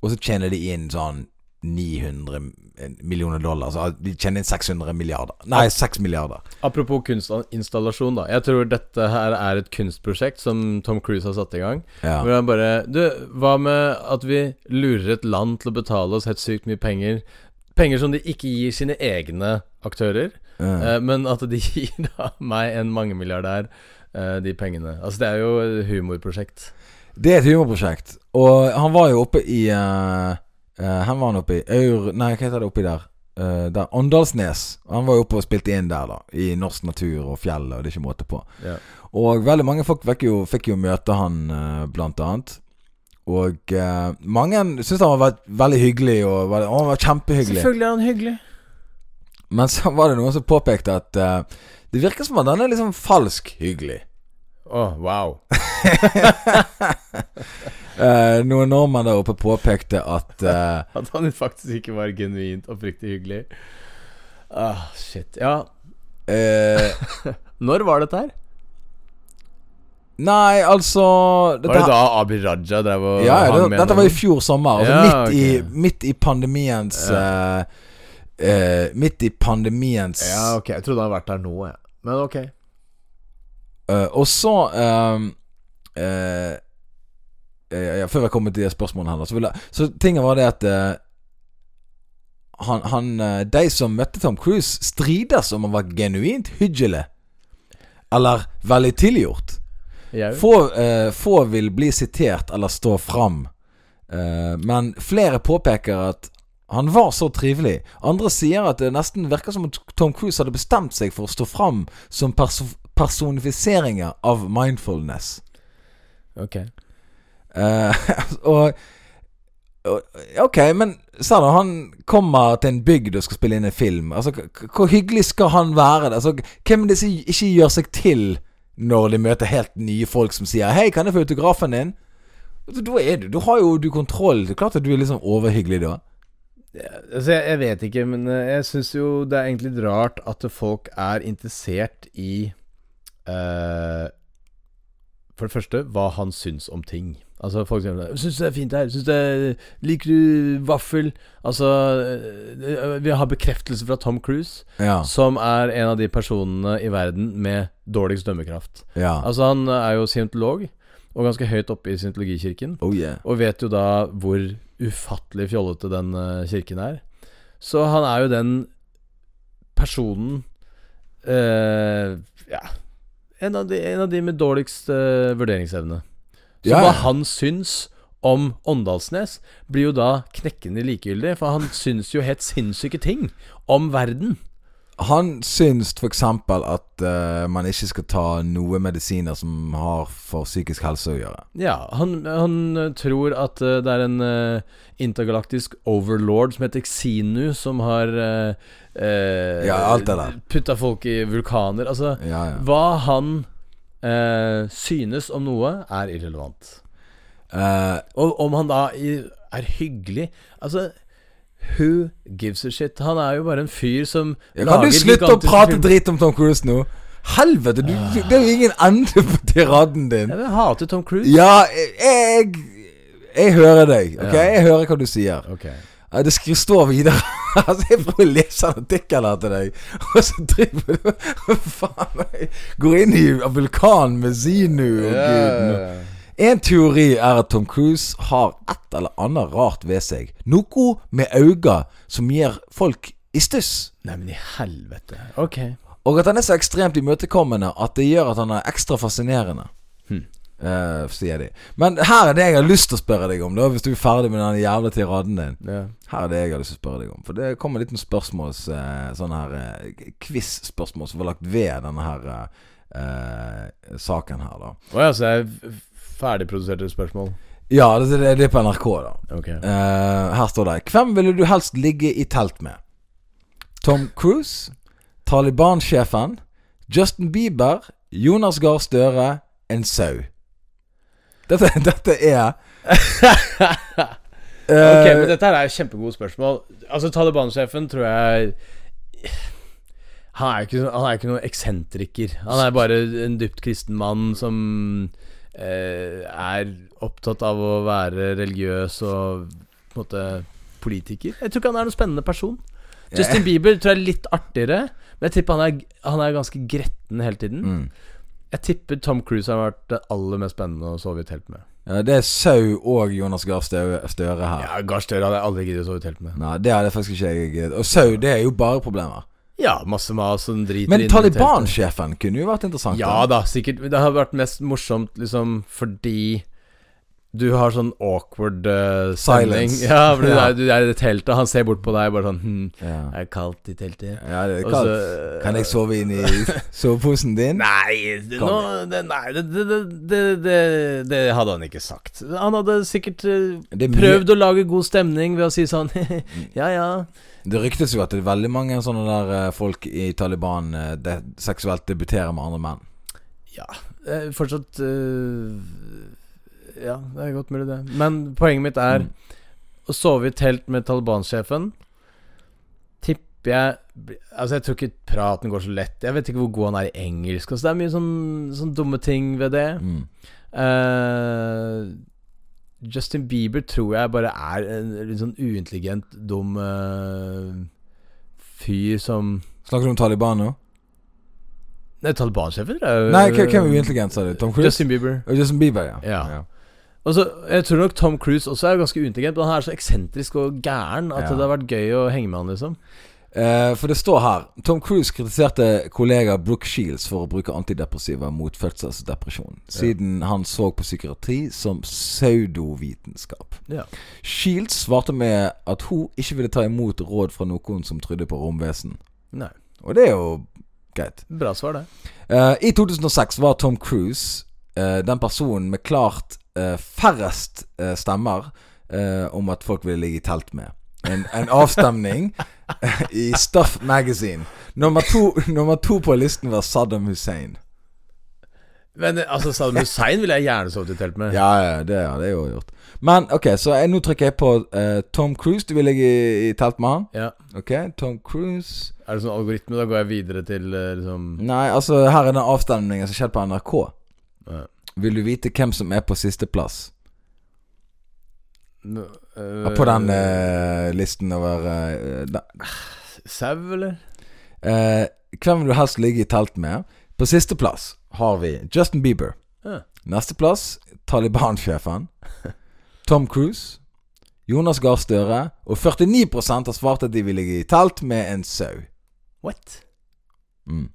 Speaker 2: Og så tjener de inn sånn 900 millioner dollar. Så de tjener inn 600 milliarder. Nei, 6 milliarder.
Speaker 3: Apropos kunstinstallasjon, da. Jeg tror dette her er et kunstprosjekt som Tom Cruise har satt i gang.
Speaker 2: Ja.
Speaker 3: Hvor han bare Du, hva med at vi lurer et land til å betale oss helt sykt mye penger? Penger som de ikke gir sine egne aktører,
Speaker 2: Ja.
Speaker 3: eh, men at de [LAUGHS] gir da meg, en mangemilliardær, eh, de pengene. Altså, det er jo et humorprosjekt.
Speaker 2: Det er et humorprosjekt. Og han var jo oppe i eh, eh, Han var han oppe i Aur... Nei, hva heter det oppi der? Eh, der Åndalsnes. Han var jo oppe og spilte inn der, da. I norsk natur og fjell, og det er ikke måte på.
Speaker 3: Ja.
Speaker 2: Og veldig mange folk fikk jo, fikk jo møte han, eh, blant annet. Og eh, mange syntes han var ve- veldig hyggelig. Og veldig, å, han var kjempehyggelig.
Speaker 3: er han hyggelig.
Speaker 2: Men så var det noen som påpekte at eh, det virker som at han er liksom falsk hyggelig.
Speaker 3: Å, wow. [LAUGHS]
Speaker 2: Eh, noen nordmenn der oppe påpekte at eh,
Speaker 3: At han faktisk ikke var genuint oppriktig hyggelig. Ah, shit. Ja.
Speaker 2: eh,
Speaker 3: Når var dette her?
Speaker 2: Nei, altså dette,
Speaker 3: Var det
Speaker 2: her-
Speaker 3: da Abid Raja drev og
Speaker 2: ja, ja,
Speaker 3: hang
Speaker 2: det,
Speaker 3: med
Speaker 2: Dette
Speaker 3: noen?
Speaker 2: var i fjor sommer. Altså
Speaker 3: Ja,
Speaker 2: midt, i,
Speaker 3: ok.
Speaker 2: midt i pandemiens eh, eh, Midt i pandemiens
Speaker 3: Ja, ok. Jeg trodde han hadde vært der nå, jeg. Men ok.
Speaker 2: eh, Og så eh, eh, eh, ja, Før jeg kommer til de spørsmålene her, da, så, vil jeg, så tinget var det at eh, han, han, eh, de som møtte Tom Cruise, strides om han var genuint hyggelig eller veldig tilgjort.
Speaker 3: Jeg
Speaker 2: Få, eh, få vil bli sitert eller stå fram, eh, men flere påpeker at han var så trivelig. Andre sier at det nesten virker som at Tom Cruise hadde bestemt seg for å stå fram som perso personifiseringer av mindfulness.
Speaker 3: Ok.
Speaker 2: Eh, [LAUGHS] og, og Ok, men sa du, han kommer til en bygd og skal spille inn en film. Altså, k- k- Hvor hyggelig skal han være? Altså, hvem er det som ikke gjør seg til når de møter helt nye folk som sier 'Hei, kan jeg få autografen din?' Altså, Da er du, du har jo du kontroll. Det er klart at du er litt sånn liksom overhyggelig da.
Speaker 3: Altså, jeg, jeg vet ikke, men eh, jeg syns jo det er egentlig litt rart at folk er interessert i eh, For det første, hva han syns om ting. Altså, folk sier sånn, 'Syns du det er fint her?' Synes det er, 'Liker du vaffel?' Altså eh, Vi har bekreftelse fra Tom Cruise,
Speaker 2: Ja.
Speaker 3: som er en av de personene i verden med dårligst dømmekraft.
Speaker 2: ja.
Speaker 3: Altså, han er jo scientolog, og ganske høyt oppe i scientologikirken.
Speaker 2: Oh yeah.
Speaker 3: Og vet jo da hvor ufattelig fjollete den eh, kirken er. Så han er jo den personen eh, Ja. En av, de, en av de med dårligst eh, vurderingsevne. Så
Speaker 2: Ja, ja.
Speaker 3: hva han syns om Åndalsnes, blir jo da knekkende likegyldig. For han syns jo helt sinnssyke ting om verden.
Speaker 2: Han syns f.eks. at eh, man ikke skal ta noe medisiner som har for psykisk helse å gjøre.
Speaker 3: Ja, han, han eh, tror at eh, det er en eh, intergalaktisk overlord som heter Xinu, som har uh,
Speaker 2: Ja, alt det der.
Speaker 3: putta folk i vulkaner. Altså,
Speaker 2: Ja, ja.
Speaker 3: hva han eh, synes om noe, er irrelevant.
Speaker 2: Eh,
Speaker 3: Og om han da i- er hyggelig Altså, who gives a shit? Han er jo bare en fyr som
Speaker 2: kan du
Speaker 3: lager
Speaker 2: slutte å
Speaker 3: gigantiske
Speaker 2: prate
Speaker 3: filmer. Ah.
Speaker 2: drit om Tom Cruise nå? Helvete, du, det er jo ingen ende på tiraden din.
Speaker 3: Jeg hater Tom Cruise.
Speaker 2: Ja, jeg Jeg hører deg. Ok, Jeg hører hva du sier.
Speaker 3: Ok.
Speaker 2: Ja, Det skri- står videre. [LAUGHS] altså, jeg prøver å lese en artikkel her til deg, og så driver du Faen meg. Går inn i vulkanen med Zinu og guden. En teori er at Tom Cruise har et eller annet rart ved seg. Noe med øyne som gjør folk i stuss.
Speaker 3: Nei, men i helvete. Ok.
Speaker 2: Og at han er så ekstremt imøtekommende at det gjør at han er ekstra fascinerende. Eh, sier de. Men her er det jeg har lyst til å spørre deg om, da hvis du er ferdig med den jævla tiraden din.
Speaker 3: Ja.
Speaker 2: Her er det jeg har lyst til å spørre deg om. For det kommer litt med spørsmåls eh, Sånn her eh, quiz-spørsmål som var lagt ved denne her eh, saken her, da.
Speaker 3: Å ja, så jeg f- ferdigproduserte spørsmål.
Speaker 2: Ja, det, det, det er på NRK, da.
Speaker 3: Ok.
Speaker 2: Eh, her står det Hvem ville du helst ligge i telt med? Tom Cruise? Taliban-sjefen? Justin Bieber? Jonas Gahr Støre? En sau? Dette, [LAUGHS] dette er
Speaker 3: [LAUGHS] Ok,
Speaker 2: eh,
Speaker 3: men dette her er kjempegode spørsmål. Altså, Taliban-sjefen tror jeg han er, ikke, han er ikke noen eksentriker. Han er bare en dypt kristen mann som eh, er opptatt av å være religiøs og på en måte politiker. Jeg tror ikke han er noen spennende person. Justin Bieber tror jeg er litt artigere, men jeg tipper han er, han er ganske gretten hele tiden.
Speaker 2: Mm.
Speaker 3: Jeg tipper Tom Cruise har vært det aller mest spennende å sove i telt med.
Speaker 2: ja, Det er sau og Jonas Gahr Støre, Støre her.
Speaker 3: Ja, Gahr Støre hadde jeg aldri giddet å sove i telt med.
Speaker 2: Nei, det hadde faktisk ikke jeg giddet. Og sau, det er jo bare problemer.
Speaker 3: Ja, masse mas som driter
Speaker 2: Men
Speaker 3: inn i teltet.
Speaker 2: Taliban-sjefen kunne jo vært interessant.
Speaker 3: Ja
Speaker 2: da.
Speaker 3: da, sikkert. Det har vært mest morsomt liksom fordi du har sånn awkward uh,
Speaker 2: Silence.
Speaker 3: Ja, for du,
Speaker 2: [LAUGHS] Ja.
Speaker 3: Er, du er i det teltet, han ser bort på deg bare sånn hm,
Speaker 2: Ja.
Speaker 3: Er det kaldt i teltet?
Speaker 2: ja, det er
Speaker 3: Og
Speaker 2: kaldt.
Speaker 3: så-
Speaker 2: Kan jeg sove inn i soveposen din?
Speaker 3: Altså, eh, [LAUGHS] Nei, det, nå, det, nei det, det, det, det, det hadde han ikke sagt. Han hadde sikkert eh,
Speaker 2: Det er mye- Mm.
Speaker 3: prøvd å lage god stemning ved å si sånn [LAUGHS] Ja, ja.
Speaker 2: Det ryktes jo at det er veldig mange sånne der eh, folk i Taliban eh, de seksuelt debuterer med andre menn.
Speaker 3: Ja, eh, fortsatt eh, Ja, det er godt mulig, det. Men poenget mitt er
Speaker 2: Mm.
Speaker 3: å sove i telt med Taliban-sjefen Tipper jeg bli- Altså, jeg tror ikke praten går så lett. Jeg vet ikke hvor god han er i engelsk. Altså, det er mye sånn, sånn dumme ting ved det.
Speaker 2: Mm.
Speaker 3: Eh, Justin Bieber tror jeg bare er en litt sånn uintelligent, dum eh, fyr som
Speaker 2: Snakker du om Taliban nå?
Speaker 3: Nei, Taliban-sjefen tror jeg
Speaker 2: Nei, hva- hvem er uintelligent, sa du? Tom Cruise?
Speaker 3: Eh, Justin Bieber.
Speaker 2: Og Justin Bieber, ja.
Speaker 3: Ja. Og så, jeg tror nok Tom Cruise også er ganske uintelligent, men han er så eksentrisk og gæren at
Speaker 2: Ja.
Speaker 3: det har vært gøy å henge med han, liksom.
Speaker 2: Eh, for det står her Tom Cruise kritiserte kollega Brooke Shields for å bruke antidepressiva mot fødselsdepresjon, siden han så på psykiatri som pseudovitenskap.
Speaker 3: Ja.
Speaker 2: Shields svarte med at hun ikke ville ta imot råd fra noen som trodde på romvesen.
Speaker 3: Nei.
Speaker 2: Og det er jo greit.
Speaker 3: Bra svar, det.
Speaker 2: Eh, I 2006 var Tom Cruise eh, den personen med klart eh, færrest eh, stemmer eh, om at folk ville ligge i telt med. En, en avstemning eh, i Stuff Magazine. Nummer to, nummer to på listen var Saddam Hussein.
Speaker 3: Men eh, altså, Saddam Hussein ville jeg gjerne sovet i telt med.
Speaker 2: Ja, ja, det hadde jeg jo gjort. Men ok, så jeg, nå trykker jeg på eh, Tom Cruise. Du vil ligge i, i telt med han?
Speaker 3: Ja.
Speaker 2: Ok, Tom Cruise
Speaker 3: Er det sånn algoritme? Da går jeg videre til eh, liksom
Speaker 2: Nei, altså, her er den avstemningen som skjedde på NRK.
Speaker 3: Ja.
Speaker 2: Vil du vite hvem som er på sisteplass?
Speaker 3: n- eh,
Speaker 2: På den eh, listen over eh, da-
Speaker 3: Sau, eller?
Speaker 2: Eh, Hvem vil du helst ligge i telt med? På sisteplass har vi Justin Bieber.
Speaker 3: Ja.
Speaker 2: Nesteplass Taliban-sjefen. Tom Cruise. Jonas Gahr Støre. Og 49 har svart at de vil ligge i telt med en sau.
Speaker 3: What?
Speaker 2: Mm.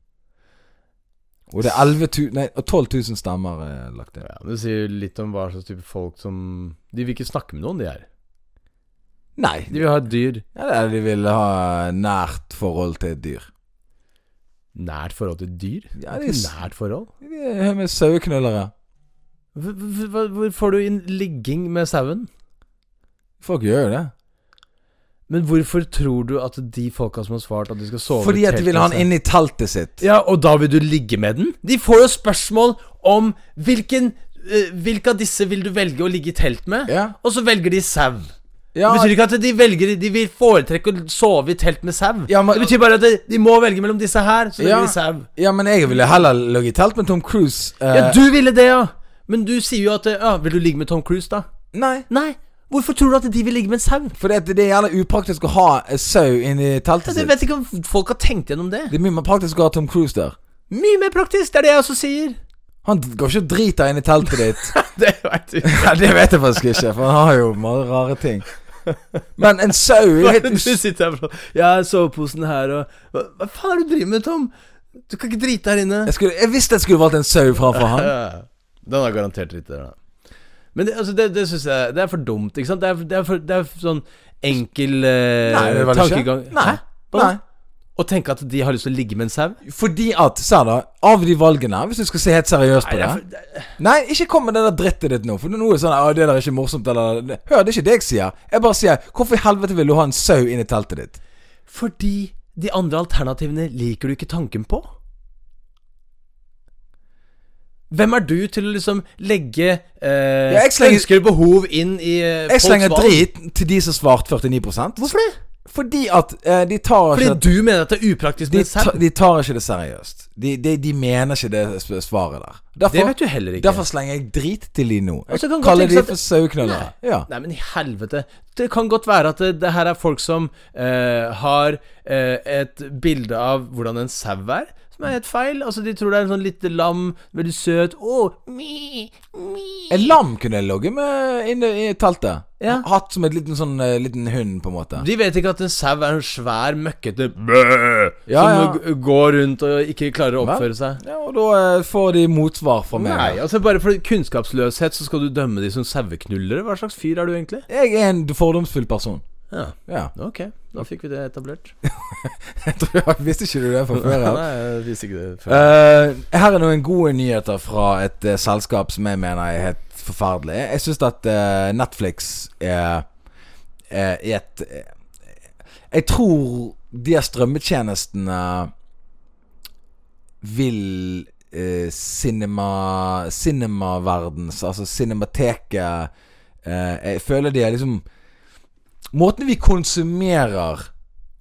Speaker 2: Og det er 11 000, nei, 12 000 stemmer eh, lagt inn.
Speaker 3: Ja, Det sier litt om hva slags type folk som De vil ikke snakke med noen, de her.
Speaker 2: Nei,
Speaker 3: De vil ha et dyr.
Speaker 2: ja, det er de vil ha nært forhold til et dyr.
Speaker 3: Nært forhold til dyr?
Speaker 2: Ja,
Speaker 3: det
Speaker 2: det
Speaker 3: er
Speaker 2: er
Speaker 3: ikke
Speaker 2: s-
Speaker 3: nært forhold.
Speaker 2: De er med saueknullere.
Speaker 3: Hvor- hvor- hvor- Hvor får du inn ligging med sauen?
Speaker 2: Folk gjør jo det.
Speaker 3: Men hvorfor tror du at de folka som har svart at de skal sove i
Speaker 2: Fordi at
Speaker 3: telt
Speaker 2: de
Speaker 3: altså.
Speaker 2: vil ha
Speaker 3: med
Speaker 2: han inn i teltet sitt.
Speaker 3: Ja, og da vil du ligge med den? De får jo spørsmål om hvilken eh, Hvilke av disse vil du velge å ligge i telt med?
Speaker 2: Ja.
Speaker 3: Og så velger de sau.
Speaker 2: Ja,
Speaker 3: det betyr ikke at de velger De vil foretrekke å sove i telt med sau.
Speaker 2: Ja, men-
Speaker 3: det betyr bare at de, de må velge mellom disse her, så velger
Speaker 2: Ja.
Speaker 3: de sau.
Speaker 2: ja men jeg ville heller ligget i telt med Tom Cruise. eh,
Speaker 3: Ja, du ville det, ja. Men du sier jo at eh, ja, Vil du ligge med Tom Cruise, da?
Speaker 2: Nei,
Speaker 3: Nei. Hvorfor tror du at de vil ligge med en sau?
Speaker 2: for det, det er gjerne upraktisk å ha en sau inni teltet
Speaker 3: Jeg
Speaker 2: sitt.
Speaker 3: vet ikke om folk har tenkt gjennom det.
Speaker 2: Det er mye mer praktisk å ha Tom Cruise der.
Speaker 3: Mye mer praktisk, det er det jeg også sier.
Speaker 2: Han går ikke og driter inn i teltet ditt. [LAUGHS]
Speaker 3: [LAUGHS] Det vet du.
Speaker 2: Ja, det vet jeg faktisk ikke, for han har jo mange rare ting. Men en sau er jo
Speaker 3: Hva er
Speaker 2: helt
Speaker 3: det du
Speaker 2: us-
Speaker 3: sitter her for? Ja, soveposen her og hva, hva faen er det du driver med, Tom? Du kan ikke drite her inne.
Speaker 2: jeg, skulle, jeg visste jeg skulle valgt en sau framfor [LAUGHS] han.
Speaker 3: Den har garantert dritt der, da. Men det, altså, det, det syns jeg Det er for dumt, ikke sant? Det er, det er, for, det er sånn enkel eh,
Speaker 2: Nei, det var det ikke.
Speaker 3: tankegang.
Speaker 2: Nei.
Speaker 3: Hæ? Hva da?
Speaker 2: Nei.
Speaker 3: Å tenke at de har lyst til å ligge med en sau?
Speaker 2: Fordi at, se da, av de valgene, hvis du skal se helt seriøst på
Speaker 3: det
Speaker 2: det
Speaker 3: er for- det
Speaker 2: Nei, ikke kom med det der drittet ditt nå, for nå er det sånn Å, det der er ikke morsomt, eller Hør, det er ikke det jeg sier. Jeg bare sier Hvorfor i helvete vil du ha en sau inn i teltet ditt?
Speaker 3: Fordi de andre alternativene liker du ikke tanken på. Hvem er du til å liksom legge eh,
Speaker 2: jeg slenger-
Speaker 3: ønsker og behov inn i eh,
Speaker 2: Jeg
Speaker 3: folks
Speaker 2: slenger
Speaker 3: valg?
Speaker 2: drit til de som svarte 49
Speaker 3: Hvorfor det?
Speaker 2: Fordi at eh, de tar
Speaker 3: Fordi
Speaker 2: ikke det-
Speaker 3: du mener at det er upraktisk
Speaker 2: de,
Speaker 3: med sau?
Speaker 2: ta, de tar ikke det seriøst. De, de, de mener ikke det s- svaret der. Derfor,
Speaker 3: Det vet du heller ikke.
Speaker 2: Derfor slenger jeg drit til de nå.
Speaker 3: Og så
Speaker 2: Jeg
Speaker 3: kan godt
Speaker 2: kaller
Speaker 3: tenkes
Speaker 2: de
Speaker 3: at-
Speaker 2: for saueknøllere.
Speaker 3: Nei.
Speaker 2: Ja.
Speaker 3: Nei, men i helvete. Det kan godt være at det, det her er folk som eh, har eh, et bilde av hvordan en sau er, som er helt feil. Altså, de tror det er en sånn lite lam, veldig søt Å, mi, mi.
Speaker 2: En lam kunne jeg ligget med inne i teltet.
Speaker 3: Ja.
Speaker 2: Hatt som en liten, sånn, eh, liten hund, på en måte.
Speaker 3: De vet ikke at en sau er en svær, møkkete bæ,
Speaker 2: Ja,
Speaker 3: som
Speaker 2: ja.
Speaker 3: g- går rundt og ikke klarer å
Speaker 2: Hva?
Speaker 3: oppføre seg.
Speaker 2: Ja, og da eh, får de motsvar fra meg.
Speaker 3: Nei, altså Bare for kunnskapsløshet så skal du dømme de som saueknullere? Hva slags fyr er du egentlig?
Speaker 2: Jeg er en fordomsfull person.
Speaker 3: Ja,
Speaker 2: [LAUGHS] Ja.
Speaker 3: Ok, da fikk vi det etablert.
Speaker 2: Jeg tror jeg visste ikke du det fra før av.
Speaker 3: Nei, jeg visste ikke det før.
Speaker 2: Eh, her er noen gode nyheter fra et eh, selskap som jeg mener er helt forferdelig. Jeg syns at eh, Netflix er, er et eh, Jeg tror de her strømmetjenestene vil eh, cinema cinemaverdens, altså cinemateket eh, Jeg føler de er liksom Måten vi konsumerer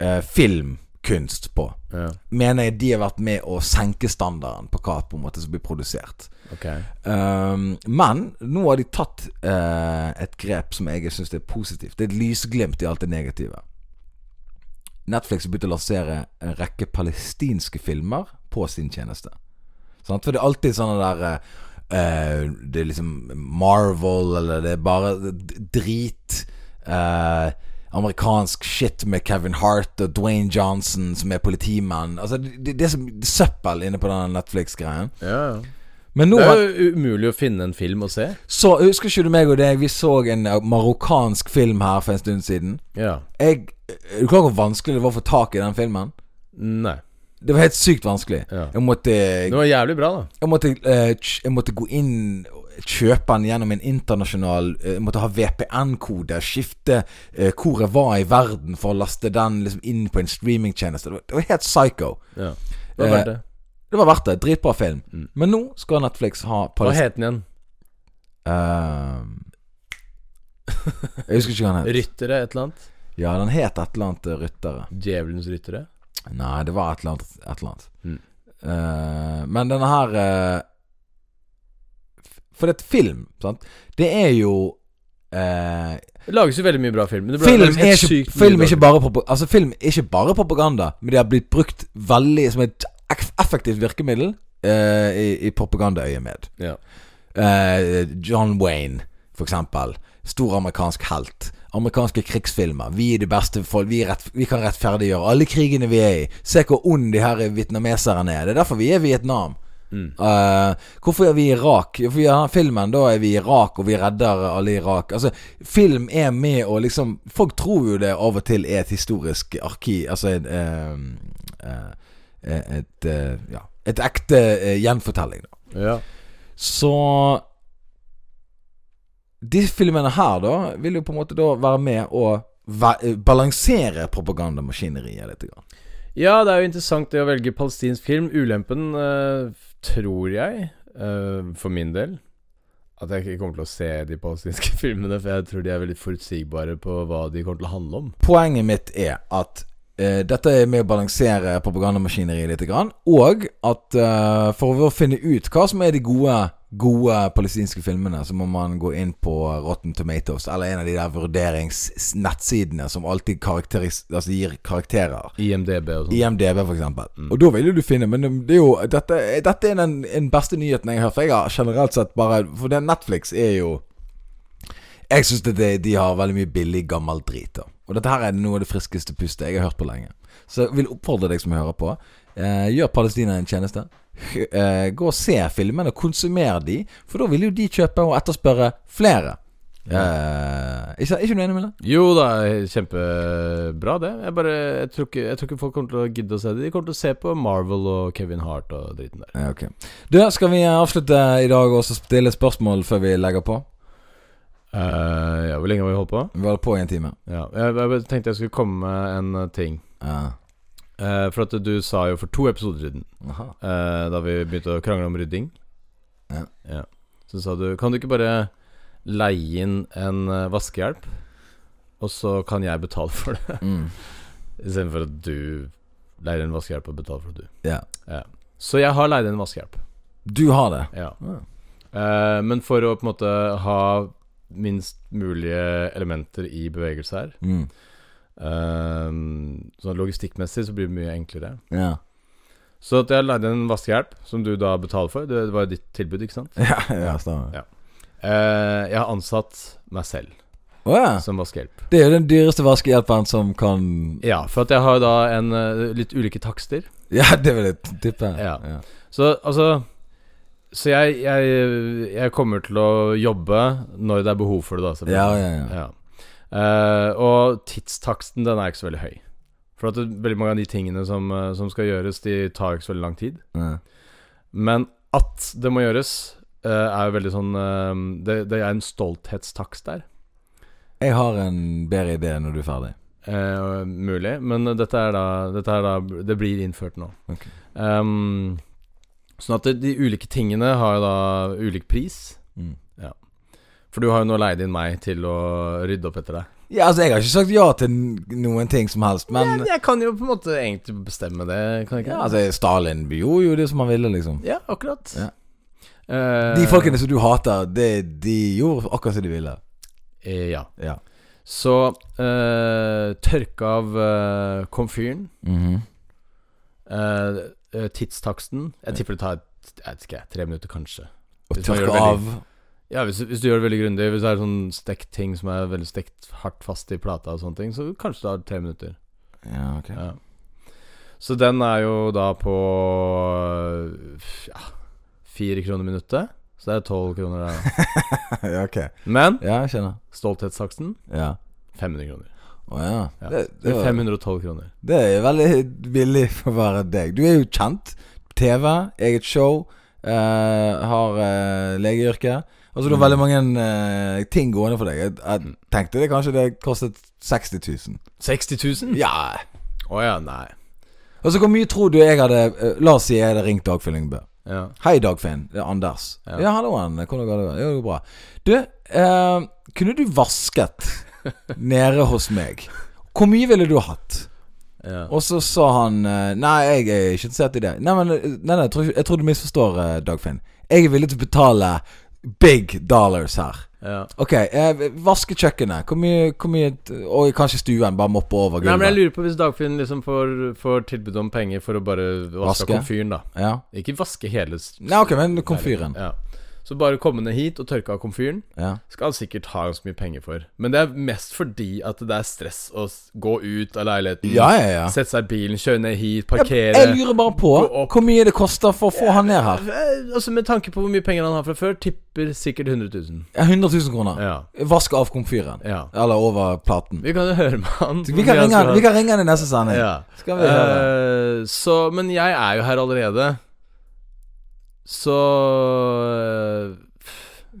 Speaker 2: eh, filmkunst på
Speaker 3: Ja,
Speaker 2: mener jeg de har vært med å senke standarden på hva på en måte som blir produsert.
Speaker 3: ok
Speaker 2: Um, men nå har de tatt eh, et grep som jeg syns er positivt. Det er et lysglimt i alt det negative. Netflix har begynt å lansere en rekke palestinske filmer på sin tjeneste. Sant? For det er alltid sånne der eh, eh, Det er liksom Marvel, eller det er bare d- drit. eh, amerikansk shit med Kevin Hart og Dwayne Johnson som er politimann. Altså, det, det er som søppel inne på den Netflix-greien.
Speaker 3: ja, ja.
Speaker 2: Men nå
Speaker 3: Det
Speaker 2: har-
Speaker 3: er jo umulig å finne en film å se.
Speaker 2: så husker ikke du meg og deg, vi så en eh, marokkansk film her for en stund siden.
Speaker 3: Ja.
Speaker 2: Jeg, er du klar over hvor vanskelig det var å få tak i den filmen?
Speaker 3: Nei.
Speaker 2: Det var helt sykt vanskelig.
Speaker 3: Ja.
Speaker 2: Jeg måtte,
Speaker 3: Det var jævlig bra, da.
Speaker 2: jeg, måtte eh, kj- jeg måtte gå inn og kjøpe den gjennom en internasjonal eh, Jeg måtte ha VPN-kode, skifte eh, hvor jeg var i verden for å laste den liksom inn på en streamingtjeneste. Det var- Det var helt psycho.
Speaker 3: Ja. Det var verdt det.
Speaker 2: Det var verdt det. Dritbra film.
Speaker 3: Mm.
Speaker 2: Men nå skal Netflix ha
Speaker 3: Hva
Speaker 2: Palestina
Speaker 3: het den igjen?
Speaker 2: [LAUGHS] Jeg husker ikke hva den het.
Speaker 3: Ryttere, et eller annet?
Speaker 2: Ja, den het et eller annet eh, Ryttere.
Speaker 3: Djevelens ryttere?
Speaker 2: Nei, det var et eller annet. Et eller annet.
Speaker 3: Mm.
Speaker 2: Eh, men denne her eh, f- For det er et film, sant? Det er jo eh,
Speaker 3: Det lages jo veldig mye bra film. Men det ble
Speaker 2: Film
Speaker 3: laget
Speaker 2: er,
Speaker 3: helt
Speaker 2: ikke,
Speaker 3: sykt mye
Speaker 2: film, er
Speaker 3: bra
Speaker 2: ikke bare propa- altså, film er ikke bare propaganda, men de har blitt brukt veldig som et eff- effektivt virkemiddel eh, i, i propagandaøyemed.
Speaker 3: Ja.
Speaker 2: Eh, John Wayne, for eksempel. Stor amerikansk helt. Amerikanske krigsfilmer. Vi er de beste folk. Vi, er rett, vi kan rettferdiggjøre alle krigene vi er i. Se hvor ond de her vietnameserne er. Det er derfor vi er i Vietnam. Eh, hvorfor er vi i Irak? For vi har filmen, da er vi i Irak, og vi redder alle i Irak. Altså, film er med og liksom Folk tror jo det av og til er et historisk arki... Altså et eh, eh, Et, eh, ja, et ekte eh, gjenfortelling, da.
Speaker 3: Ja.
Speaker 2: Så De filmene her, da, vil jo på en måte da være med å va- balansere propagandamaskineriet litt. Grann.
Speaker 3: ja, det er jo interessant det å velge palestinsk film. Ulempen eh, tror jeg, eh, for min del, at jeg ikke kommer til å se de palestinske [LAUGHS] filmene. For jeg tror de er veldig forutsigbare på hva de kommer til å handle om.
Speaker 2: Poenget mitt er at eh, dette er med å balansere propagandamaskineriet litt. Grann, og at eh, for å finne ut hva som er de gode, gode palestinske filmene, så må man gå inn på Rotten Tomatoes, eller en av de der vurderingsnettsidene som alltid karakteris altså gir karakterer.
Speaker 3: IMDb og sånn. Mm.
Speaker 2: IMDb, for eksempel. Og da vil jo du finne Men det er jo dette, dette er den, den beste nyheten jeg har hørt. For jeg har generelt sett bare For det Netflix er jo Jeg syns de, de har veldig mye billig, gammel drit. da Og dette her er noe av det friskeste pustet jeg har hørt på lenge. Så jeg vil oppfordre deg som hører på. Eh, gjør Palestina en tjeneste. H- Eh, gå og se filmene, og konsumer de, for da vil jo de kjøpe og etterspørre flere. Eh, ikke, ikke du enig med det?
Speaker 3: Jo da, kjempebra det. Jeg bare jeg tror, ikke, jeg tror ikke folk kommer til å gidde å se det. De kommer til å se på Marvel og Kevin Hart og driten der.
Speaker 2: Ja, ok Du, skal vi eh, avslutte i dag og så stille spørsmål før vi legger på?
Speaker 3: Eh, ja, Hvor lenge har vi holdt på?
Speaker 2: Vi holder på i en time.
Speaker 3: Ja, jeg, jeg bare tenkte jeg skulle komme med en eh, ting.
Speaker 2: Ja.
Speaker 3: Eh, for at du sa jo for to episoder siden,
Speaker 2: Aha.
Speaker 3: eh, da vi begynte å krangle om rydding
Speaker 2: Ja.
Speaker 3: Så sa du Kan du ikke bare leie inn en eh, vaskehjelp, og så kan jeg betale for det?
Speaker 2: [LAUGHS] Mm.
Speaker 3: Istedenfor at du leier en vaskehjelp og betaler for det, du.
Speaker 2: Ja.
Speaker 3: Så jeg har leid inn en vaskehjelp.
Speaker 2: Du har det.
Speaker 3: Ja.
Speaker 2: Ja.
Speaker 3: Eh, men for å på en måte ha minst mulige elementer i bevegelse her,
Speaker 2: Mm.
Speaker 3: eh, sånn logistikkmessig, så blir det mye enklere.
Speaker 2: Ja.
Speaker 3: Så at jeg leide en vaskehjelp, som du da betaler for. Det var jo ditt tilbud, ikke sant?
Speaker 2: [LAUGHS] ja, ja stemmer.
Speaker 3: Ja. Eh, jeg har ansatt meg selv
Speaker 2: Å ja.
Speaker 3: som vaskehjelp.
Speaker 2: Det er jo den dyreste vaskehjelpen som kan
Speaker 3: Ja, for at jeg har da en, eh, litt ulike takster.
Speaker 2: Ja, det vil jeg t- tippe.
Speaker 3: Ja. Så altså Så jeg, jeg, jeg kommer til å jobbe når det er behov for det, da. selvfølgelig.
Speaker 2: Ja, ja, ja.
Speaker 3: Ja. Eh, og tidstaksten den er ikke så veldig høy. For at det, veldig mange av de tingene som, eh, som skal gjøres, de tar ikke så veldig lang tid.
Speaker 2: Ja.
Speaker 3: Men at det må gjøres, eh, er jo veldig sånn eh, det, det er en stolthetstakst der.
Speaker 2: Jeg har en bedre idé når du er ferdig.
Speaker 3: Eh, mulig. Men dette er, da, dette er da Det blir innført nå.
Speaker 2: Ok.
Speaker 3: Ehm, sånn at de, de ulike tingene har jo da ulik pris.
Speaker 2: Mm.
Speaker 3: For du har jo nå leid inn meg til å rydde opp etter deg.
Speaker 2: Ja, altså, jeg har ikke sagt ja til n- noen ting som helst, men
Speaker 3: jeg, jeg kan jo på en måte egentlig bestemme det, kan jeg ikke?
Speaker 2: ja, altså, Stalin gjorde jo det som han ville, liksom.
Speaker 3: Ja, akkurat.
Speaker 2: Ja.
Speaker 3: Eh,
Speaker 2: De folkene som du hater, det, de gjorde akkurat som de ville.
Speaker 3: eh, Ja.
Speaker 2: Ja.
Speaker 3: Så eh, tørke av eh, komfyren.
Speaker 2: Mhm.
Speaker 3: eh, eh, tidstaksten. Jeg tipper det tar et- jeg vet ikke, tre minutter, kanskje.
Speaker 2: Og
Speaker 3: Hvis man gjør
Speaker 2: tørke
Speaker 3: det veldig-
Speaker 2: av
Speaker 3: Ja, hvis, hvis du gjør det veldig grundig, hvis det er sånn stekt ting som er veldig stekt hardt fast i plata og sånne ting, så kanskje det har tre minutter.
Speaker 2: Ja, ok.
Speaker 3: Ja. Så den er jo da på øh, ja, fire kroner minuttet. Så det er tolv kroner der.
Speaker 2: [LAUGHS]
Speaker 3: da.
Speaker 2: ja, ok.
Speaker 3: Men
Speaker 2: Ja, jeg skjønner.
Speaker 3: stolthetstaksen
Speaker 2: Ja. 500
Speaker 3: 500 kroner.
Speaker 2: Å ja.
Speaker 3: Ja.
Speaker 2: Det,
Speaker 3: Det
Speaker 2: det,
Speaker 3: er
Speaker 2: var,
Speaker 3: 512 kroner.
Speaker 2: det er jo veldig billig [LAUGHS] for å være deg. Du er jo kjent. TV, eget show, eh, har eh, legeyrke. Altså Du har veldig mange eh, ting gående for deg. Jeg, jeg tenkte det kanskje det kostet 60 000.
Speaker 3: 60 000?
Speaker 2: Ja.
Speaker 3: Å ja, nei.
Speaker 2: Altså, hvor mye tror du jeg hadde eh, La oss si jeg hadde ringt Dagfinn Lyngbø.
Speaker 3: Ja.
Speaker 2: Hei, Dagfinn. Det er Anders.
Speaker 3: Ja.
Speaker 2: Ja, hallo, han. Hvordan går det? Jo, det går bra. Du, eh, kunne du
Speaker 3: [LAUGHS]
Speaker 2: vasket nede hos meg? Hvor mye ville du hatt?
Speaker 3: Ja.
Speaker 2: Og så sa han eh, Nei, jeg er ikke interessert i det. Nei, men eh, nei, nei, jeg, tror, ikke- jeg tror du misforstår, eh, Dagfinn. Jeg er villig til å betale big dollars her.
Speaker 3: ja.
Speaker 2: Ok, eh, vaske kjøkkenet. Hvor mye, hvor mye Og kanskje stuen. Bare moppe over
Speaker 3: Nei, men jeg
Speaker 2: gulvet.
Speaker 3: lurer på hvis Dagfinn liksom får, får tilbud om penger for å bare vaske,
Speaker 2: Vaske?
Speaker 3: komfyren, da.
Speaker 2: Ja.
Speaker 3: Ikke vaske hele s-
Speaker 2: Nei, ok, men komfyren.
Speaker 3: Ja. Så bare komme ned hit og tørke av komfyren
Speaker 2: Ja.
Speaker 3: skal han sikkert ha ganske mye penger for. Men det er mest fordi at det er stress å s- gå ut av leiligheten,
Speaker 2: Ja, ja, ja.
Speaker 3: sette seg i bilen, kjøre ned hit,
Speaker 2: Jeg,
Speaker 3: parkere
Speaker 2: jeg lurer bare på
Speaker 3: Gå opp.
Speaker 2: hvor mye det koster for å få han ned her.
Speaker 3: Eh, Altså Med tanke på hvor mye penger han har fra før, tipper sikkert 100 000.
Speaker 2: Ja, 100 000 kroner.
Speaker 3: Ja.
Speaker 2: Vask av komfyren.
Speaker 3: ja.
Speaker 2: Eller over platen.
Speaker 3: Vi kan jo høre med han.
Speaker 2: Vi kan ringe han, vi kan ringe han i neste sending.
Speaker 3: ja.
Speaker 2: Skal vi høre.
Speaker 3: Eh, så Men jeg er jo her allerede. Så eh,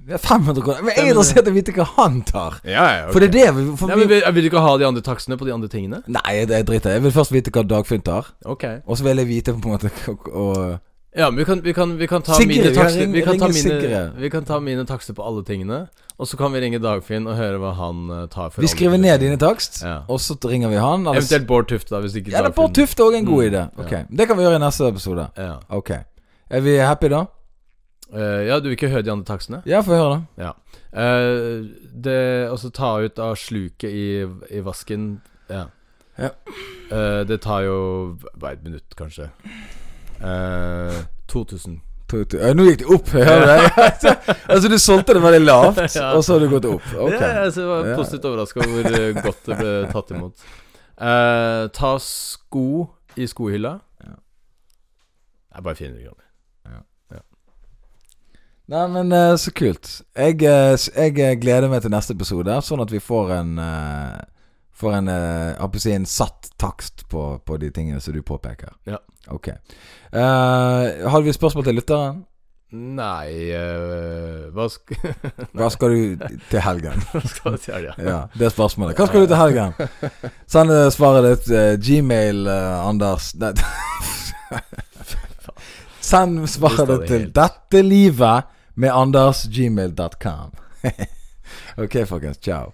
Speaker 2: Ja, 500 kroner. Men jeg er interessert i å vite hva han tar.
Speaker 3: Ja, ja.
Speaker 2: For det er det vi for
Speaker 3: Nei, men
Speaker 2: vi,
Speaker 3: vil, vil du ikke ha de andre taksene på de andre tingene?
Speaker 2: Nei, det er dritt. Jeg vil først vite hva Dagfinn tar.
Speaker 3: Ok
Speaker 2: Og så vil jeg vite på en måte hva- og,
Speaker 3: Ja, men vi kan, vi kan, vi kan ta
Speaker 2: Sigrid,
Speaker 3: mine
Speaker 2: vi kan
Speaker 3: takster
Speaker 2: ringe-
Speaker 3: vi kan, ta
Speaker 2: ringe
Speaker 3: mine,
Speaker 2: Sigrid.
Speaker 3: vi kan ta mine takster på alle tingene. Og så kan vi ringe Dagfinn og høre hva han eh, tar for
Speaker 2: Vi
Speaker 3: alle
Speaker 2: skriver
Speaker 3: tingene.
Speaker 2: ned dine takst,
Speaker 3: Ja.
Speaker 2: og så ringer vi han. eller-
Speaker 3: Eventuelt Mm. Bård Tufte, da, hvis ikke
Speaker 2: Ja, det er Bård Tufte er òg en god idé. Ok, Det kan vi gjøre i neste episode.
Speaker 3: Ja.
Speaker 2: Ok Er vi happy da?
Speaker 3: Eh, ja, du vil ikke høre de andre takstene?
Speaker 2: Ja, få høre, da.
Speaker 3: Ja. Eh, det å ta ut av sluket i, i vasken Ja.
Speaker 2: Ja.
Speaker 3: Eh, det tar jo bare et minutt, kanskje. Eh, 2000.
Speaker 2: To- to- Ja, Nå gikk det opp. [LAUGHS] Hører du
Speaker 3: [LAUGHS]
Speaker 2: det? altså, du solgte det veldig lavt,
Speaker 3: Ja.
Speaker 2: og så har du gått opp. Ok
Speaker 3: Ja, jeg så var
Speaker 2: Ja.
Speaker 3: positivt overraska over hvor eh, godt det ble tatt imot. Eh, ta sko i skohylla.
Speaker 2: Ja.
Speaker 3: Det er bare 400 kroner.
Speaker 2: Nei, men eh, så kult. Jeg, eh, s- jeg eh, gleder meg til neste episode, sånn at vi får en eh, Får en eh, jeg holdt på å si en satt takst på, på de tingene som du påpeker.
Speaker 3: Ja.
Speaker 2: Ok. Eh, har vi spørsmål til
Speaker 3: [LAUGHS]
Speaker 2: lytteren?
Speaker 3: Nei eh, Hva sk [LAUGHS]
Speaker 2: Hva skal du til helgen?
Speaker 3: skal jeg si? her, Ja.
Speaker 2: Ja, det er spørsmålet. Hva skal du til
Speaker 3: [LAUGHS]
Speaker 2: helgen? Send eh, svaret ditt eh, Gmail, eh, Anders [LAUGHS] Nei. Send svaret
Speaker 3: Mista
Speaker 2: ditt
Speaker 3: det
Speaker 2: til
Speaker 3: helt.
Speaker 2: 'Dette livet' med [LAUGHS] andersgmail.com. ok, folkens. Ciao.